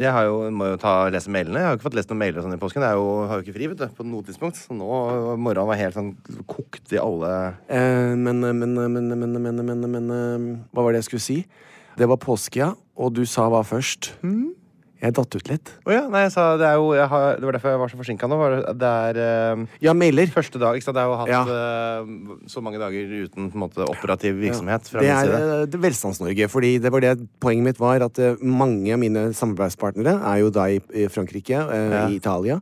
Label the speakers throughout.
Speaker 1: Jeg har jo, må jo ta lese mailene. Jeg har jo ikke fått lest noen mailer og sånn i påsken. Jeg er jo, har jo ikke fri vet du, på noe tidspunkt. Så nå morgenen var helt sånn kokt i alle
Speaker 2: Eh, men, men, men, men, men, men, men eh, Hva var det jeg skulle si? Det var påske, ja. Og du sa hva først?
Speaker 1: Mm.
Speaker 2: Jeg datt ut litt.
Speaker 1: Å ja, nei, jeg sa det er jo jeg har, Det var derfor jeg var så forsinka nå. Var det, det er eh,
Speaker 2: Ja, mailer.
Speaker 1: første dag ikke sant? Jeg har jo hatt
Speaker 2: Ja.
Speaker 1: eh, så mange dager uten på en måte, operativ virksomhet fra
Speaker 2: Det
Speaker 1: min
Speaker 2: er
Speaker 1: side.
Speaker 2: eh, det Velstands-Norge. fordi det var det Poenget mitt var at eh, mange av mine samarbeidspartnere er jo da i i Frankrike, eh,
Speaker 1: Ja.
Speaker 2: i Italia,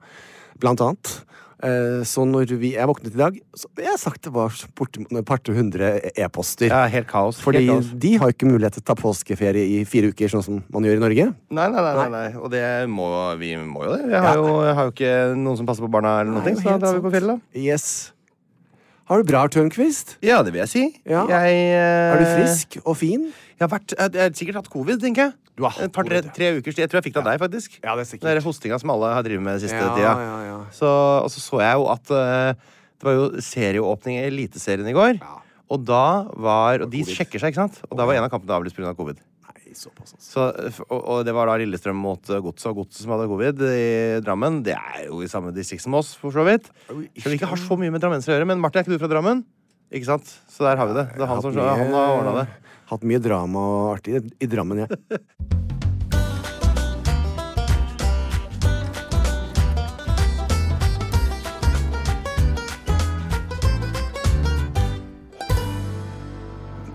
Speaker 2: blant annet. Eh, Så når vi, jeg våknet i dag, så jeg har sagt det var bortimot et par hundre e-poster.
Speaker 1: Ja, helt kaos.
Speaker 2: Fordi
Speaker 1: helt kaos.
Speaker 2: de har jo ikke mulighet til å ta påskeferie i fire uker, sånn som man gjør i Norge.
Speaker 1: Nei, nei, nei, nei, nei. Og det må, vi må jo det. Jeg har,
Speaker 2: Ja.
Speaker 1: jo, jeg har jo ikke noen som passer på barna, eller noen ting, så da
Speaker 2: helt
Speaker 1: drar vi på
Speaker 2: sant.
Speaker 1: fjellet. da.
Speaker 2: Yes. Har du bra, Tørnquist?
Speaker 1: Ja, det vil jeg si.
Speaker 2: Ja.
Speaker 1: Jeg, eh,
Speaker 2: Er du frisk og fin?
Speaker 1: Jeg har, vært, jeg, jeg har sikkert hatt covid, tenker jeg.
Speaker 2: Du har hatt
Speaker 1: Et par, tre,
Speaker 2: covid, ja.
Speaker 1: tre ukers tid. Jeg tror jeg fikk det av deg, faktisk.
Speaker 2: Ja, det er sikkert.
Speaker 1: Den der hostinga som alle har drevet med den siste
Speaker 2: Ja,
Speaker 1: tida.
Speaker 2: ja, ja.
Speaker 1: Så, og så så jeg jo at eh, det var jo serieåpning i Eliteserien i går. Og da var, og de sjekker seg, ikke sant? Og da var en av kampene avlyst pga. Av covid.
Speaker 2: Nei, såpass, altså.
Speaker 1: Så, eh, f- og, og det var da Lillestrøm mot eh, Godset, og Godset som hadde covid i Drammen. Det er jo i samme distrikt som oss, for så vidt. Som ikke har så mye med drammensere å gjøre. Men Martin, er ikke du fra Drammen? Ikke sant? Så der har vi det. Det er han som han har ordna det.
Speaker 2: Hatt mye drama og artig i Drammen, jeg.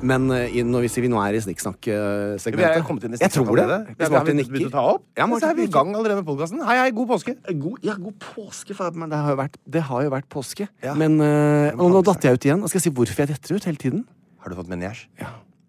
Speaker 2: Men eh, i- når vi sier vi nå er i
Speaker 1: Vi er
Speaker 2: snikksnakk-segmentet
Speaker 1: kommet inn i
Speaker 2: Jeg tror det.
Speaker 1: allerede.
Speaker 2: Hvis
Speaker 1: Vi har
Speaker 2: Martin
Speaker 1: begynt- begynt å
Speaker 2: nikker.
Speaker 1: ta opp.
Speaker 2: Ja, Martin
Speaker 1: så er vi i
Speaker 2: nikker.
Speaker 1: gang allerede med podkasten. Hei, hei, god påske!
Speaker 2: Eh, God, ja, god påske, fader. Men det har jo vært, det har jo vært påske.
Speaker 1: Ja.
Speaker 2: Men eh,
Speaker 1: må
Speaker 2: og nå
Speaker 1: ta med
Speaker 2: datt jeg ut igjen. Og skal jeg si hvorfor jeg detter ut hele tiden?
Speaker 1: Har du fått meniasj?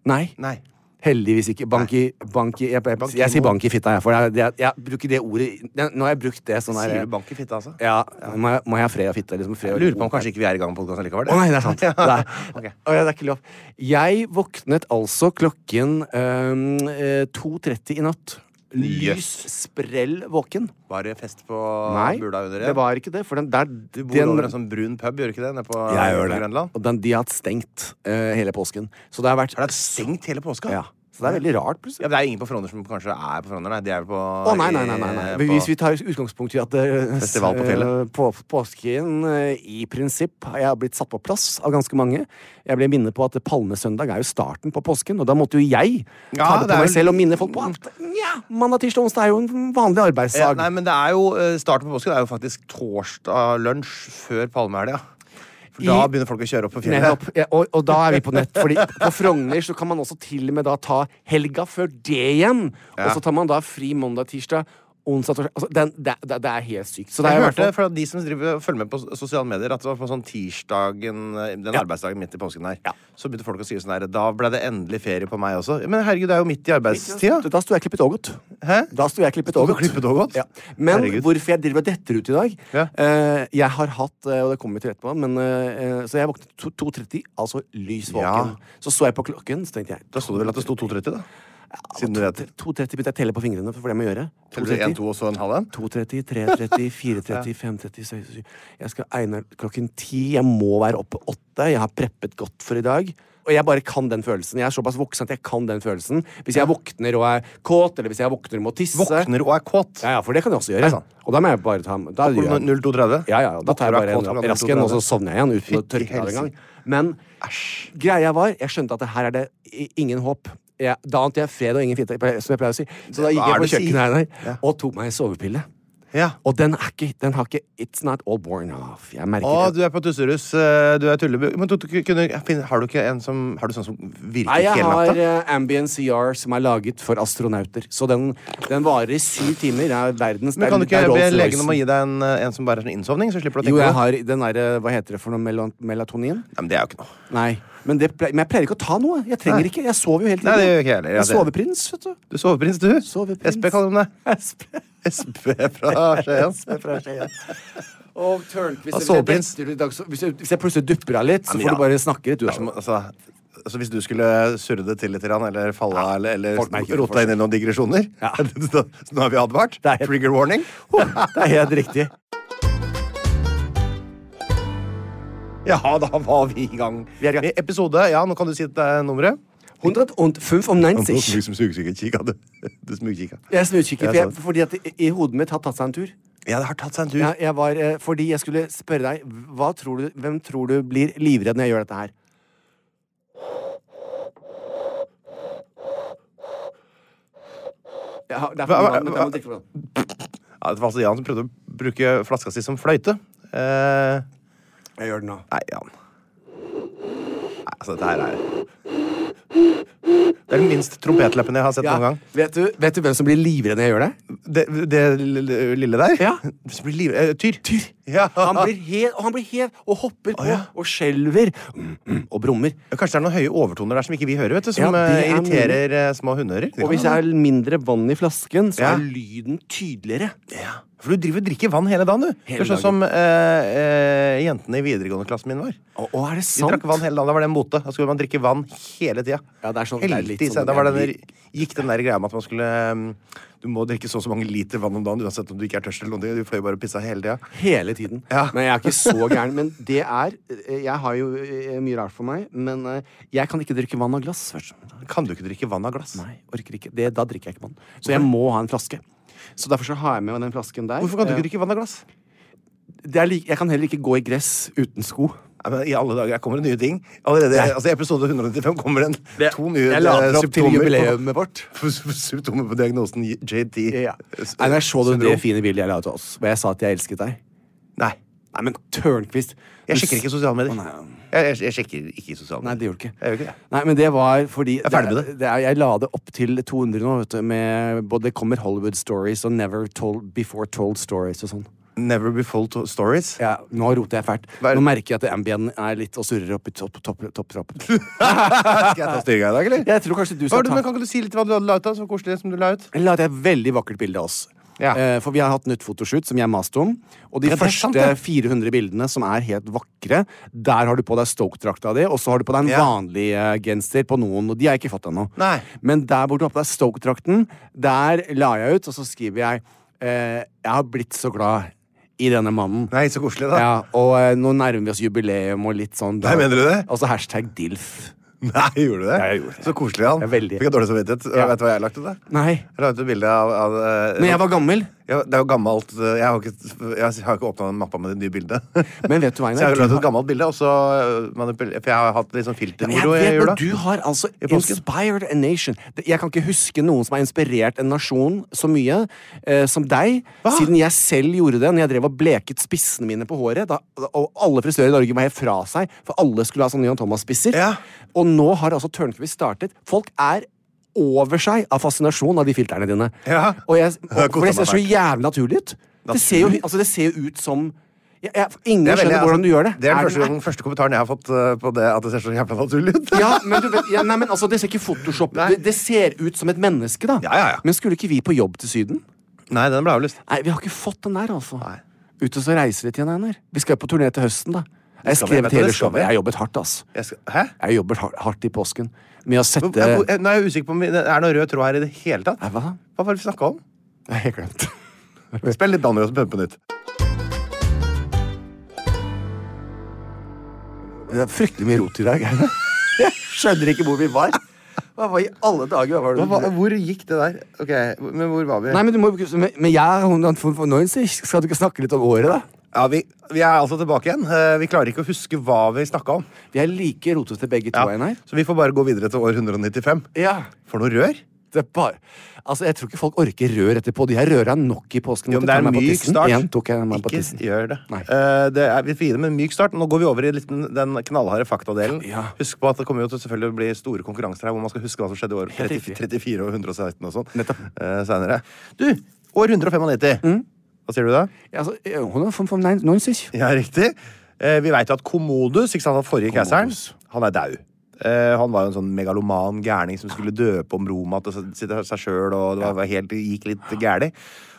Speaker 2: Nei.
Speaker 1: Nei.
Speaker 2: Heldigvis ikke. Bank i, bank i jeg, jeg,
Speaker 1: Bank i
Speaker 2: jeg, sier
Speaker 1: noe.
Speaker 2: bank i fitta, jeg. For jeg, jeg, jeg bruker det ordet det- Nå har jeg brukt det sånn
Speaker 1: Sier du
Speaker 2: her
Speaker 1: bank i fitta, altså?
Speaker 2: Ja, må jeg, må jeg ha fred og fitte? Liksom, fred og
Speaker 1: Jeg lurer på om kanskje ikke vi er i gang med podkasten likevel.
Speaker 2: Å nei, det er sant. Det er,
Speaker 1: Ok.
Speaker 2: Å, ja, det er ikke lov. Jeg våknet altså klokken øhm, eh, 2.30 i natt. Lys
Speaker 1: Jøss.
Speaker 2: sprell våken.
Speaker 1: Var det fest på
Speaker 2: Nei,
Speaker 1: Bula under
Speaker 2: det var ikke det. For den der
Speaker 1: Du bor
Speaker 2: den-
Speaker 1: over en sånn brun pub, gjør du ikke det? Nede på,
Speaker 2: Jeg gjør
Speaker 1: på
Speaker 2: det.
Speaker 1: Grønland?
Speaker 2: Og den, de har hatt stengt eh, hele påsken. Så det har vært
Speaker 1: Har det vært stengt hele påska?
Speaker 2: Ja. Så det er veldig rart, plutselig.
Speaker 1: Ja, men det er ingen på Frogner som kanskje er på Frogner, nei. De er på
Speaker 2: Å, nei, nei, nei, nei, nei.
Speaker 1: eh,
Speaker 2: Men
Speaker 1: på-
Speaker 2: Hvis vi tar utgangspunkt i at eh,
Speaker 1: Festival på fjellet.
Speaker 2: eh, På, påsken eh, i prinsipp har jeg blitt satt på plass av ganske mange. Jeg ble minnet på at Palmesøndag er jo starten på påsken, og da måtte jo jeg ta
Speaker 1: Ja,
Speaker 2: det
Speaker 1: det er jo-
Speaker 2: på meg
Speaker 1: Mm.
Speaker 2: selv og minne folk på at nja, mandag, tirsdag, onsdag er jo en vanlig
Speaker 1: ja,
Speaker 2: arbeidsdag.
Speaker 1: Nei, men det er jo eh, starten på påsken er jo faktisk torsdag lunsj før palmehelga. For da
Speaker 2: I-
Speaker 1: begynner folk å kjøre opp på fjellet.
Speaker 2: Nettopp. Ja, og, og da er vi på nett. Fordi på Frogner så kan man også til og med da ta helga før det igjen. Og så tar man da fri mandag, tirsdag, onsdag, torsdag. Altså, den, det, det, det er helt sykt. Så det er
Speaker 1: Jeg
Speaker 2: i hvert
Speaker 1: hørte
Speaker 2: fall
Speaker 1: fra de som driver, og følger med på s- sosiale medier, at det var på sånn tirsdagen, eh, den arbeidsdagen midt i påsken der,
Speaker 2: Ja.
Speaker 1: så begynte folk å si sånn her Da ble det endelig ferie på meg også. Men herregud, det er jo midt i arbeidstida.
Speaker 2: Da sto jeg klippet ågot.
Speaker 1: Hæ?
Speaker 2: Da sto jeg klippet
Speaker 1: Sto du
Speaker 2: ågot.
Speaker 1: klippet ågot?
Speaker 2: Ja. Men
Speaker 1: Herregud.
Speaker 2: hvorfor jeg driver og detter ut i dag
Speaker 1: Ja.
Speaker 2: eh, Jeg har hatt, eh, og det kommer vi til rett på, men eh, eh, Så jeg våknet to- 2.30, altså lys
Speaker 1: Ja.
Speaker 2: våken. Så så jeg på klokken, så tenkte jeg
Speaker 1: Da sto det vel at det sto 2.30, da. Siden du vet det.
Speaker 2: 2.30 begynte jeg å telle på fingrene for det må jeg gjøre.
Speaker 1: Teller du 1, 2 og så en halv en?
Speaker 2: 2.30, 3.30, 4.30, 5.30, 6.30 Jeg skal Einar klokken 10. Jeg må være oppe åtte. Jeg har preppet godt for i dag. Og jeg bare kan den følelsen. Jeg er såpass voksen at jeg kan den følelsen. Hvis jeg våkner og er kåt, eller hvis jeg våkner og må tisse
Speaker 1: Våkner og er kåt.
Speaker 2: Ja, ja, for det kan jeg også gjøre.
Speaker 1: Nei, sant.
Speaker 2: Og da må jeg bare ta da gjør jeg-
Speaker 1: 0230?
Speaker 2: ja, ja, da
Speaker 1: Våkner
Speaker 2: tar jeg bare
Speaker 1: og er kåt
Speaker 2: en
Speaker 1: klokka
Speaker 2: rask en, og så
Speaker 1: 0230.
Speaker 2: sovner jeg igjen uten å
Speaker 1: Fytti
Speaker 2: tørke av det engang.
Speaker 1: helsike.
Speaker 2: Men greia var, jeg skjønte at det her er det i- ingen håp. Jeg, da ante jeg fred og ingen fitte, som jeg pleier å si. Så da gikk
Speaker 1: Hva er
Speaker 2: jeg på
Speaker 1: det du
Speaker 2: kjøkkenet her,
Speaker 1: Ja.
Speaker 2: og tok meg en sovepille.
Speaker 1: Ja.
Speaker 2: Og den er ikke Den har ikke It's not all born off. Jeg merker
Speaker 1: Å,
Speaker 2: det.
Speaker 1: du er på tusserus. eh, Du er tullebu... Men du, du, kunne, fin- har du ikke en som Har du sånn som
Speaker 2: Nei,
Speaker 1: virker
Speaker 2: jeg
Speaker 1: hele
Speaker 2: har
Speaker 1: natta?
Speaker 2: eh, Ambient CR som er laget for astronauter. Så den, den varer i syv timer. Det er verdens
Speaker 1: Men kan du
Speaker 2: det
Speaker 1: ikke
Speaker 2: er- det er
Speaker 1: be
Speaker 2: Rolls-Roycen.
Speaker 1: legen om å gi deg en, eh, en som bare er sånn innsovning, så slipper du å
Speaker 2: Jo,
Speaker 1: tenke
Speaker 2: jeg
Speaker 1: på det?
Speaker 2: har den derre Hva heter det for noe? melo- Melatonin?
Speaker 1: Nei, men det er jo ikke noe.
Speaker 2: Nei, men, det ple men jeg pleier ikke å ta noe. Jeg trenger ikke. Jeg sover jo hele tiden.
Speaker 1: Nei, det gjør ikke jeg heller. Ja,
Speaker 2: Jeg er
Speaker 1: det-
Speaker 2: soveprins, vet du.
Speaker 1: Du er soveprins, du.
Speaker 2: Soveprins.
Speaker 1: SP kaller de deg. SP fra Skien.
Speaker 2: Og Tørnquist
Speaker 1: Ja,
Speaker 2: hvis, jeg
Speaker 1: soveprins.
Speaker 2: detter ut i dag, så- hvis, jeg- hvis jeg plutselig dupper av litt, så
Speaker 1: men
Speaker 2: får
Speaker 1: ja.
Speaker 2: du bare snakke litt, du.
Speaker 1: Det er som, altså, altså hvis du skulle surre det til litt, grann, eller falle av, eller,
Speaker 2: folk merker
Speaker 1: eller
Speaker 2: ikke
Speaker 1: rota inn i noen digresjoner
Speaker 2: Ja.
Speaker 1: så, så nå har vi advart.
Speaker 2: Det er- Oh,
Speaker 1: Trigger warning.
Speaker 2: Det er helt riktig.
Speaker 1: Ja, da var vi i gang.
Speaker 2: Vi er i gang.
Speaker 1: Med episode Ja, nå kan du si at det er nummeret.
Speaker 2: 195.
Speaker 1: Du smugkikka.
Speaker 2: Jeg smugkikker, for
Speaker 1: Jeg
Speaker 2: jeg-
Speaker 1: så det.
Speaker 2: fordi at det i i hodet mitt har tatt seg en tur.
Speaker 1: Ja, det har tatt seg en tur.
Speaker 2: Jeg, jeg var, eh, fordi jeg skulle spørre deg hva tror du, Hvem tror du blir livredd når jeg gjør dette her? Jeg har, det er for mye vann, vet du, jeg må drikke for vann.
Speaker 1: Ja, det var altså Jan som prøvde å bruke flaska si som fløyte. Eh,
Speaker 2: Jeg gjør det nå.
Speaker 1: nei, Jan. Nei, altså, dette her er Det er den minst trompetleppen jeg har sett
Speaker 2: Ja,
Speaker 1: noen gang.
Speaker 2: Vet, du, vet du hvem som blir livredd når jeg gjør det?
Speaker 1: Det, det lille lille der?
Speaker 2: Ja.
Speaker 1: Det blir liv... eh, Tyr.
Speaker 2: Tyr.
Speaker 1: Ja.
Speaker 2: Han blir helt, og han blir helt og hopper på
Speaker 1: ja.
Speaker 2: og skjelver mm, mm, og brummer.
Speaker 1: Kanskje det er noen høye overtoner der som ikke vi hører, vet du, som
Speaker 2: Ja, det
Speaker 1: eh,
Speaker 2: er
Speaker 1: irriterer eh, små hundeører.
Speaker 2: Og hvis det er mindre vann i flasken, så
Speaker 1: Ja.
Speaker 2: er lyden tydeligere.
Speaker 1: Ja. For du driver og drikker vann hele dagen, du. Det
Speaker 2: Hele
Speaker 1: er sånn som eh, eh, jentene i videregående-klassen min var. De
Speaker 2: Og, og er det sant?
Speaker 1: drakk vann hele dagen, da var det en mote. Da skulle man drikke vann hele tida.
Speaker 2: Ja, det er sånn- det er
Speaker 1: Helt
Speaker 2: litt
Speaker 1: i
Speaker 2: sånn
Speaker 1: seg. Da
Speaker 2: det
Speaker 1: var
Speaker 2: blir-
Speaker 1: den, gikk den der greia med at man skulle eh, Du må drikke så og så mange liter vann om dagen uansett om du ikke er tørst eller noe. Du får jo bare pissa hele tida.
Speaker 2: Hele tiden.
Speaker 1: Ja.
Speaker 2: Men jeg er ikke så gæren. Men det er Jeg har jo eh, mye rart for meg, men eh, jeg kan ikke drikke vann av glass. Først.
Speaker 1: Kan du ikke drikke vann av glass?
Speaker 2: Nei, orker ikke. Det, da drikker jeg ikke vann. Så jeg må ha en flaske. Så derfor så har jeg med meg den flasken der.
Speaker 1: Hvorfor kan du
Speaker 2: Eh,
Speaker 1: ikke drikke vann av glass?
Speaker 2: Det er like, jeg kan heller ikke gå i gress uten sko.
Speaker 1: Nei, men I alle dager, her kommer det nye ting. Allerede altså, i episode 195 kommer det en, to nye
Speaker 2: jeg lader
Speaker 1: eh,
Speaker 2: opp til
Speaker 1: symptomer på-
Speaker 2: jubileet vårt.
Speaker 1: på- Symptomer på diagnosen JT.
Speaker 2: Ja. Nei, men jeg så det, det fine bildet jeg la ut av oss, hvor jeg sa at jeg elsket deg.
Speaker 1: Nei.
Speaker 2: Nei, men Tørnquist du
Speaker 1: Jeg sjekker ikke
Speaker 2: s-
Speaker 1: sosiale medier.
Speaker 2: Å, nei.
Speaker 1: Jeg, jeg, jeg sjekker ikke sosiale
Speaker 2: Nei,
Speaker 1: medier.
Speaker 2: det gjorde du ikke.
Speaker 1: Jeg gjør ikke det.
Speaker 2: Nei, men det var fordi
Speaker 1: er ferdig med det.
Speaker 2: er, jeg la det opp til 200 nå, vet du. Med både det kommer Hollywood Stories og Never told, Before Told Stories og sånn.
Speaker 1: Never before to stories.
Speaker 2: Ja, nå roter jeg fælt.
Speaker 1: Hva er det?
Speaker 2: Nå merker jeg at ambien er litt og surrer oppi topptrappen. Topp, topp, topp.
Speaker 1: Skal jeg ta styringa i dag, eller?
Speaker 2: jeg tror kanskje du
Speaker 1: Hva
Speaker 2: skal
Speaker 1: var det, men
Speaker 2: ta
Speaker 1: kan ikke du si litt hva du hadde la ut? da, Så koselig som du la ut?
Speaker 2: Jeg la ut et veldig vakkert bilde av oss.
Speaker 1: Ja.
Speaker 2: Eh, for vi har hatt nytt fotoshoot, som jeg maste om. Og de
Speaker 1: Ja, det er
Speaker 2: første
Speaker 1: sant, det.
Speaker 2: 400 bildene som er helt vakre, der har du på deg Stoke-drakta di, og så har du på deg en
Speaker 1: Ja.
Speaker 2: vanlig eh, genser på noen, og de har jeg ikke fått ennå.
Speaker 1: Nei.
Speaker 2: Men der hvor du har på deg Stoke-drakten, der la jeg ut, og så skriver jeg eh, Jeg har blitt så glad i denne mannen.
Speaker 1: Nei, så koselig, da.
Speaker 2: Ja, og eh, nå nærmer vi oss jubileum og litt sånn.
Speaker 1: Nei, mener du det?
Speaker 2: Altså hashtag DILF.
Speaker 1: Nei, gjorde du det?
Speaker 2: Ja, jeg gjorde det.
Speaker 1: Så koselig, han.
Speaker 2: Ja, veldig.
Speaker 1: Fikk jeg dårlig samvittighet.
Speaker 2: Ja.
Speaker 1: Vet du hva jeg la ut? da?
Speaker 2: Nei.
Speaker 1: Jeg la ut et bilde av, av eh,
Speaker 2: Når jeg var gammel.
Speaker 1: Ja, det er jo gammelt eh, Jeg har ikke, jeg har ikke åpna mappa med det nye bildet.
Speaker 2: Men vet du hva,
Speaker 1: Så
Speaker 2: Einar,
Speaker 1: jeg har
Speaker 2: du
Speaker 1: lagd
Speaker 2: har-
Speaker 1: et gammelt bilde, og så manipulert For jeg har hatt litt sånn filtermoro i
Speaker 2: Jeg vet,
Speaker 1: jula.
Speaker 2: men du har altså
Speaker 1: I påsken.
Speaker 2: inspired a nation. Det- Jeg kan ikke huske noen som har inspirert en nasjon så mye eh, som deg.
Speaker 1: Hva?
Speaker 2: Siden jeg selv gjorde det når jeg drev og bleket spissene mine på håret. Da, og alle frisører i Norge var helt fra seg, for alle skulle ha sånne Johan Thomas-spisser.
Speaker 1: Ja.
Speaker 2: Og nå har altså Tørnquist startet. Folk er over seg av fascinasjon av de filterne dine.
Speaker 1: Ja.
Speaker 2: Og jeg, og,
Speaker 1: Jeg koser
Speaker 2: for det ser
Speaker 1: meg
Speaker 2: så
Speaker 1: fælt.
Speaker 2: jævlig naturlig ut. Det ser jo, altså, det ser jo ut som jeg, jeg, Ingen
Speaker 1: Det er veldig- altså
Speaker 2: skjønner hvordan du gjør det.
Speaker 1: Det er den
Speaker 2: Er
Speaker 1: første, gangen- første kommentaren jeg har fått eh, på det at det ser så jævla naturlig ut.
Speaker 2: ja, men du vet, ja, nei, men altså, det ser ikke Photoshop det, det ser ut som et menneske, da.
Speaker 1: Ja, ja, ja.
Speaker 2: Men skulle ikke vi på jobb til Syden?
Speaker 1: Nei, den ble avlyst.
Speaker 2: Nei, vi har ikke fått den der, altså. Ut og så reiser litt igjen, Einar. Vi skal jo på turné til høsten, da. Jeg
Speaker 1: skal vi-
Speaker 2: skrev
Speaker 1: vet du,
Speaker 2: hele
Speaker 1: det skal
Speaker 2: showet.
Speaker 1: vi.
Speaker 2: Jeg har jobbet hardt, ass.
Speaker 1: Jeg skal, hæ?
Speaker 2: Jeg har jobbet har- hardt i påsken med å sette
Speaker 1: Hvor- jeg- hvor- jeg- Nå er jeg usikker på om vi- det er noe rød tråd her i det hele tatt.
Speaker 2: Nei,
Speaker 1: Hva
Speaker 2: hva da?
Speaker 1: var det vi snakka om?
Speaker 2: Nei, jeg glemte.
Speaker 1: Spill litt Daniel og Pønne på nytt.
Speaker 2: Det er fryktelig mye rot i dag. Jeg skjønner ikke hvor vi var. Hva var i alle dager? Hva var det?
Speaker 1: Hva, hva, hvor gikk det der? Ok, hvor- Men hvor var vi?
Speaker 2: Nei, men du må Men, men jeg har noen form for annoyance. Skal du ikke snakke litt om året, da?
Speaker 1: Ja, vi, vi er altså tilbake igjen. Eh, Vi klarer ikke å huske hva vi snakka om.
Speaker 2: Vi er like rotete begge to,
Speaker 1: Ja.
Speaker 2: Einar.
Speaker 1: Så vi får bare gå videre til år 195.
Speaker 2: Ja.
Speaker 1: For noe rør!
Speaker 2: Det er bare Altså, Jeg tror ikke folk orker rør etterpå. De her røra er nok i påsken.
Speaker 1: Jo, men det
Speaker 2: Måtte
Speaker 1: er
Speaker 2: ta
Speaker 1: en
Speaker 2: meg på
Speaker 1: myk
Speaker 2: tissen.
Speaker 1: start.
Speaker 2: Igjen tok jeg meg på
Speaker 1: Ikke
Speaker 2: tissen.
Speaker 1: gjør det.
Speaker 2: Nei.
Speaker 1: Eh, det er, vi får gi dem en myk start. Nå går vi over i liten, den knallharde faktadelen.
Speaker 2: Ja.
Speaker 1: Husk på at det kommer jo til selvfølgelig å bli store konkurranser her hvor man skal huske hva som skjedde i år
Speaker 2: Helt
Speaker 1: 30,
Speaker 2: riktig.
Speaker 1: 34 og 116 og sånn
Speaker 2: Nettopp. Mm.
Speaker 1: eh, senere. Du, år 195. Hva sier du da?
Speaker 2: Ja, altså, eh, hun har en form for nei- annoyance. ikke?
Speaker 1: Ja, riktig. Eh, vi veit jo at Commodus, ikke sant, han forrige keiseren,
Speaker 2: Commodus.
Speaker 1: han er daud. Eh, han var jo en sånn megaloman gærning som skulle døpe om Roma til seg- sitt- seg sjøl, og det var, var helt, det gikk litt gærlig.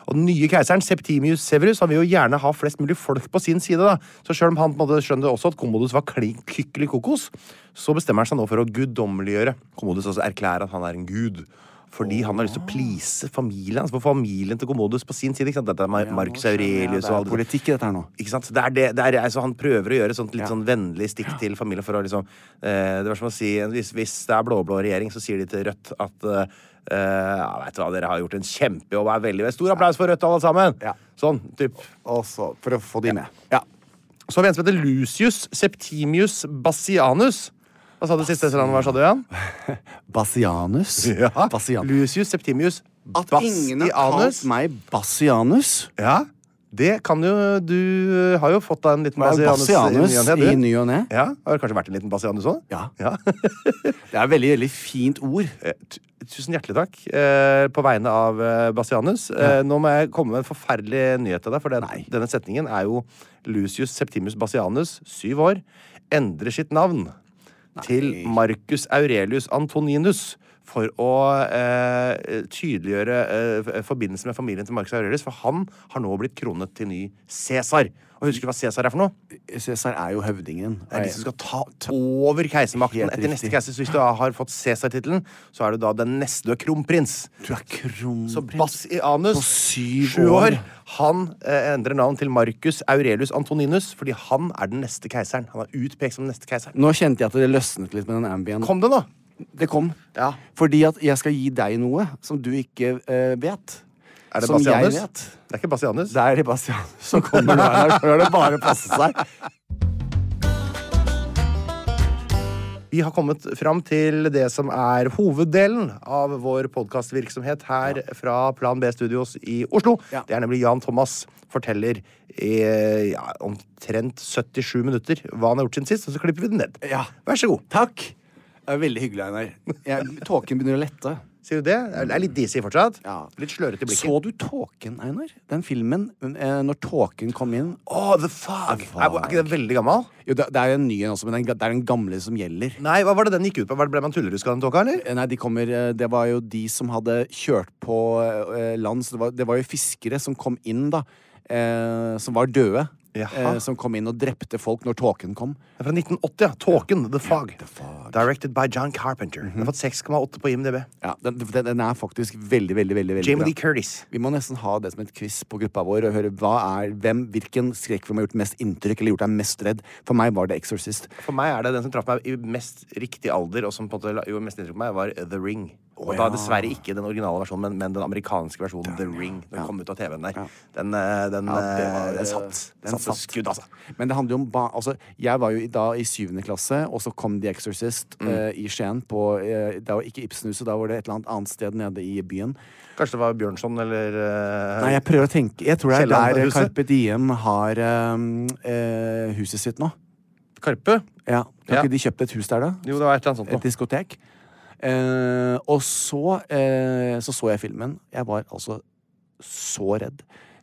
Speaker 1: Og den nye keiseren, Septimius Severus, han vil jo gjerne ha flest mulig folk på sin side, da. Så sjøl om han på en måte skjønner også at Commodus var klin kykkelig kokos, så bestemmer han seg nå for å guddommeliggjøre. Commodus altså erklærer at han er en gud. Fordi han har lyst til å please familien hans, for familien til Commodus på sin side. ikke sant? Dette er Mar Marcus
Speaker 2: Nå skjønner jeg,
Speaker 1: Aurelius og
Speaker 2: Det er
Speaker 1: alle disse-
Speaker 2: politikk i dette her nå.
Speaker 1: ikke sant? Det er det, det er, altså han prøver å gjøre et sånt litt
Speaker 2: Ja.
Speaker 1: sånn vennlig stikk til familien for å liksom eh, Det var som å si Hvis, hvis det er blå-blå regjering, så sier de til Rødt at eh, eh, ja, vet du hva, dere har gjort en kjempejobb. Er veldig, stor applaus for Rødt, alle sammen!
Speaker 2: Ja.
Speaker 1: Sånn, typ.
Speaker 2: Altså, for å få de med. Ja.
Speaker 1: Så har vi en som heter Lucius Septimius Bassianus. Hva sa du siste etter han var, sa du igjen?
Speaker 2: Bassianus. Bassianus.
Speaker 1: Lucius Septimius
Speaker 2: At ingen har
Speaker 1: Bassianus.
Speaker 2: kalt meg Bassianus.
Speaker 1: Ja, det kan jo Du eh, har jo fått deg en liten Bassianus,
Speaker 2: Bassianus
Speaker 1: ny og ne, du.
Speaker 2: i ny og ne.
Speaker 1: Ja, Har du kanskje vært en liten Bassianus òg?
Speaker 2: Ja.
Speaker 1: ja.
Speaker 2: Det er et veldig, veldig fint ord.
Speaker 1: Eh, tu- Tusen hjertelig takk eh, på vegne av eh, Bastianus. Eh, nå må jeg komme med en forferdelig nyhet til deg, for den,
Speaker 2: Nei.
Speaker 1: denne setningen er jo Lucius Septimus Bastianus, syv år, endrer sitt navn til Marcus Aurelius Antoninus. For å eh, tydeliggjøre eh, f- forbindelsen med familien til Marcus Aurelius. For han har nå blitt kronet til ny Cæsar. Og husker du hva Cæsar er for noe?
Speaker 2: Cæsar er jo høvdingen.
Speaker 1: Det er de som skal ta over keisermakten
Speaker 2: Helt
Speaker 1: etter neste
Speaker 2: riktig.
Speaker 1: keiser. Så hvis du har fått Cæsar-tittelen, så er du da den neste kronprins.
Speaker 2: Du er
Speaker 1: Så
Speaker 2: kronprins
Speaker 1: Bassianus,
Speaker 2: På syv
Speaker 1: sju
Speaker 2: år.
Speaker 1: år, han eh, endrer navn til Marcus Aurelius Antoninus fordi han er den neste keiseren. Han er utpekt som den neste keiseren.
Speaker 2: Nå kjente jeg at det løsnet litt med den ambien.
Speaker 1: Kom det nå?
Speaker 2: Det kom.
Speaker 1: Ja.
Speaker 2: Fordi at jeg skal gi deg noe som du ikke eh, vet.
Speaker 1: Er det
Speaker 2: som
Speaker 1: Bassianus?
Speaker 2: jeg vet.
Speaker 1: Det er ikke Bassianus.
Speaker 2: Det er det Bastianus som kommer nå. Einar. Så er det bare å passe seg.
Speaker 1: Vi har kommet fram til det som er hoveddelen av vår podkastvirksomhet her fra Plan B Studios i Oslo.
Speaker 2: Ja.
Speaker 1: Det er nemlig Jan Thomas forteller i ja, omtrent 77 minutter hva han har gjort siden sist, og så klipper vi det ned.
Speaker 2: Ja.
Speaker 1: Vær så god.
Speaker 2: Takk. Det er veldig hyggelig, Einar. Jeg- Tåken begynner å lette.
Speaker 1: Sier du det? Det er litt disig fortsatt.
Speaker 2: Ja.
Speaker 1: Litt slørete i blikket.
Speaker 2: Så du Tåken, Einar? Den filmen eh, når Tåken kom inn.
Speaker 1: Åh, The Fog! Er, er ikke den veldig gammel?
Speaker 2: Jo, det, det er jo en ny en også, men den, det er den gamle som gjelder.
Speaker 1: Nei, hva var det den gikk ut på? Var det- Ble man tullerusk av den tåka, eller?
Speaker 2: Eh, Nei, de kommer, eh, Det var jo de som hadde kjørt på eh, land. Så det var, det var jo fiskere som kom inn, da. Eh, som var døde.
Speaker 1: Jaha.
Speaker 2: Eh, som kom inn og drepte folk når tåken kom.
Speaker 1: Det er fra 1980, ja. Tåken, The Fog. Directed by John Carpenter.
Speaker 2: Mhm.
Speaker 1: Den har fått 6,8 på IMDb.
Speaker 2: Ja, den, den, den er faktisk veldig, veldig veldig, veldig
Speaker 1: Jamie
Speaker 2: bra.
Speaker 1: Lee Curtis.
Speaker 2: Vi må nesten ha det som et quiz på gruppa vår. og høre hva er, hvem, Hvilken skrekkfilm har gjort mest inntrykk eller gjort deg mest redd? For meg var det Exorcist.
Speaker 1: For meg er det den som traff meg i mest riktig alder, og som på en måte la- gjorde mest inntrykk på meg, var The Ring. Og da dessverre ikke den originale versjonen, men, men den amerikanske versjonen. The Ring. Den kom ut av TV-en der. Den, eh, den,
Speaker 2: Ja, det
Speaker 1: eh,
Speaker 2: var-
Speaker 1: den satt. Den
Speaker 2: den
Speaker 1: satte
Speaker 2: satt.
Speaker 1: skudd, altså.
Speaker 2: Men det handler jo om ba altså, Jeg var jo i- da i syvende klasse, og så kom The Exorcist eh, i Skien. På, eh, det var ikke Ibsenhuset, da var det et eller annet annet sted nede i byen.
Speaker 1: Kanskje det var Bjørnson eller eh,
Speaker 2: Nei, jeg prøver å tenke Jeg tror det er
Speaker 1: Kielland
Speaker 2: der eh,
Speaker 1: huset?
Speaker 2: Carpe Diem har eh, eh, huset sitt nå.
Speaker 1: Karpe?
Speaker 2: Ja. Har
Speaker 1: Ja.
Speaker 2: ikke de kjøpt et hus der, da?
Speaker 1: Jo, det var et eller annet sånt
Speaker 2: Et
Speaker 1: noe.
Speaker 2: diskotek. Eh, og så, eh, så så jeg filmen. Jeg var altså så redd.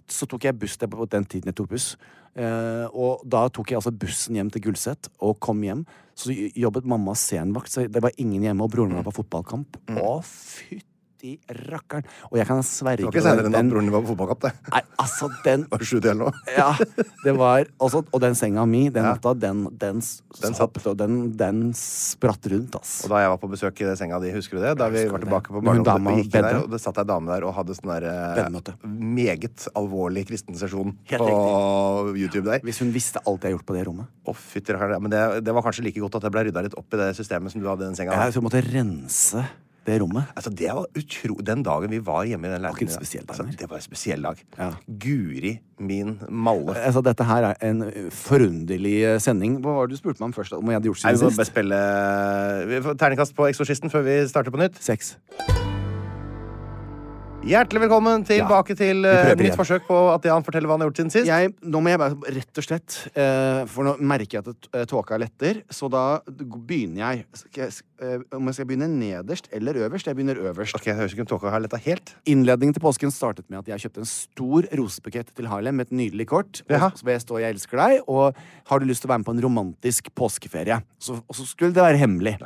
Speaker 2: Så tok jeg buss det var på den tiden jeg tok buss. Eh, og da tok jeg altså bussen hjem til Gulset og kom hjem.
Speaker 3: Mm.
Speaker 2: Så j- jobbet mamma senvakt, så det var ingen hjemme, og broren min var på fotballkamp. Å, fytti i rakkeren. Og jeg kan sverge
Speaker 3: Det var ikke senere enn at
Speaker 2: den-
Speaker 3: broren din var på fotballkamp, det.
Speaker 2: Nei, altså, den
Speaker 3: Var det sju til eller noe?
Speaker 2: ja, det var altså, Og den senga mi, den natta, den, den, s-
Speaker 3: Den satt.
Speaker 2: hoppet, og den, den spratt rundt, ass.
Speaker 1: Og da jeg var på besøk i det senga di, husker du det? Da vi var tilbake på
Speaker 2: Men hun dama
Speaker 1: barndommen, og,
Speaker 2: bedre.
Speaker 1: der, og det satt ei dame der og hadde sånn der eh,
Speaker 2: Bønnemøte.
Speaker 1: meget alvorlig kristen sesjon
Speaker 2: Helt
Speaker 1: på YouTube der.
Speaker 2: Hvis hun visste alt jeg har gjort på det rommet.
Speaker 1: Å, fytti rakkeren. Men det, det var kanskje like godt at det ble rydda litt opp i det systemet som du hadde i den senga.
Speaker 2: Jeg,
Speaker 1: der.
Speaker 2: så jeg måtte rense det rommet.
Speaker 1: Altså, det var utro... Den dagen vi var hjemme i den
Speaker 2: ikke
Speaker 1: leiligheten
Speaker 2: en spesiell dag,
Speaker 1: altså,
Speaker 2: nei.
Speaker 1: Det var en spesiell dag.
Speaker 2: Ja.
Speaker 1: Guri min malle.
Speaker 2: Altså, dette her er en forunderlig eh, sending. Hva var det du spurte meg om først? Om jeg hadde gjort
Speaker 1: Nei,
Speaker 2: siden
Speaker 1: vi må bare
Speaker 2: sist?
Speaker 1: spille eh, vi får Terningkast på Eksorsisten før vi starter på nytt.
Speaker 2: Sex.
Speaker 1: Hjertelig velkommen tilbake til eh,
Speaker 2: prøver
Speaker 1: nytt
Speaker 2: igjen.
Speaker 1: forsøk på at Jan forteller hva han har gjort siden sist.
Speaker 2: Jeg, nå må jeg bare rett og slett eh, For nå merker jeg at det- eh, tåka letter, så da begynner jeg. Skal jeg eh, om jeg skal begynne nederst eller øverst? Jeg begynner øverst.
Speaker 1: Ok, jeg hører ikke om tåka har letta helt.
Speaker 2: Innledningen til påsken startet med at jeg kjøpte en stor rosebukett til Harlem med et nydelig kort.
Speaker 1: Jaha.
Speaker 2: Og så jeg stå 'Jeg elsker deg', og 'Har du lyst til å være med på en romantisk påskeferie?' Så, og så skulle det være hemmelig.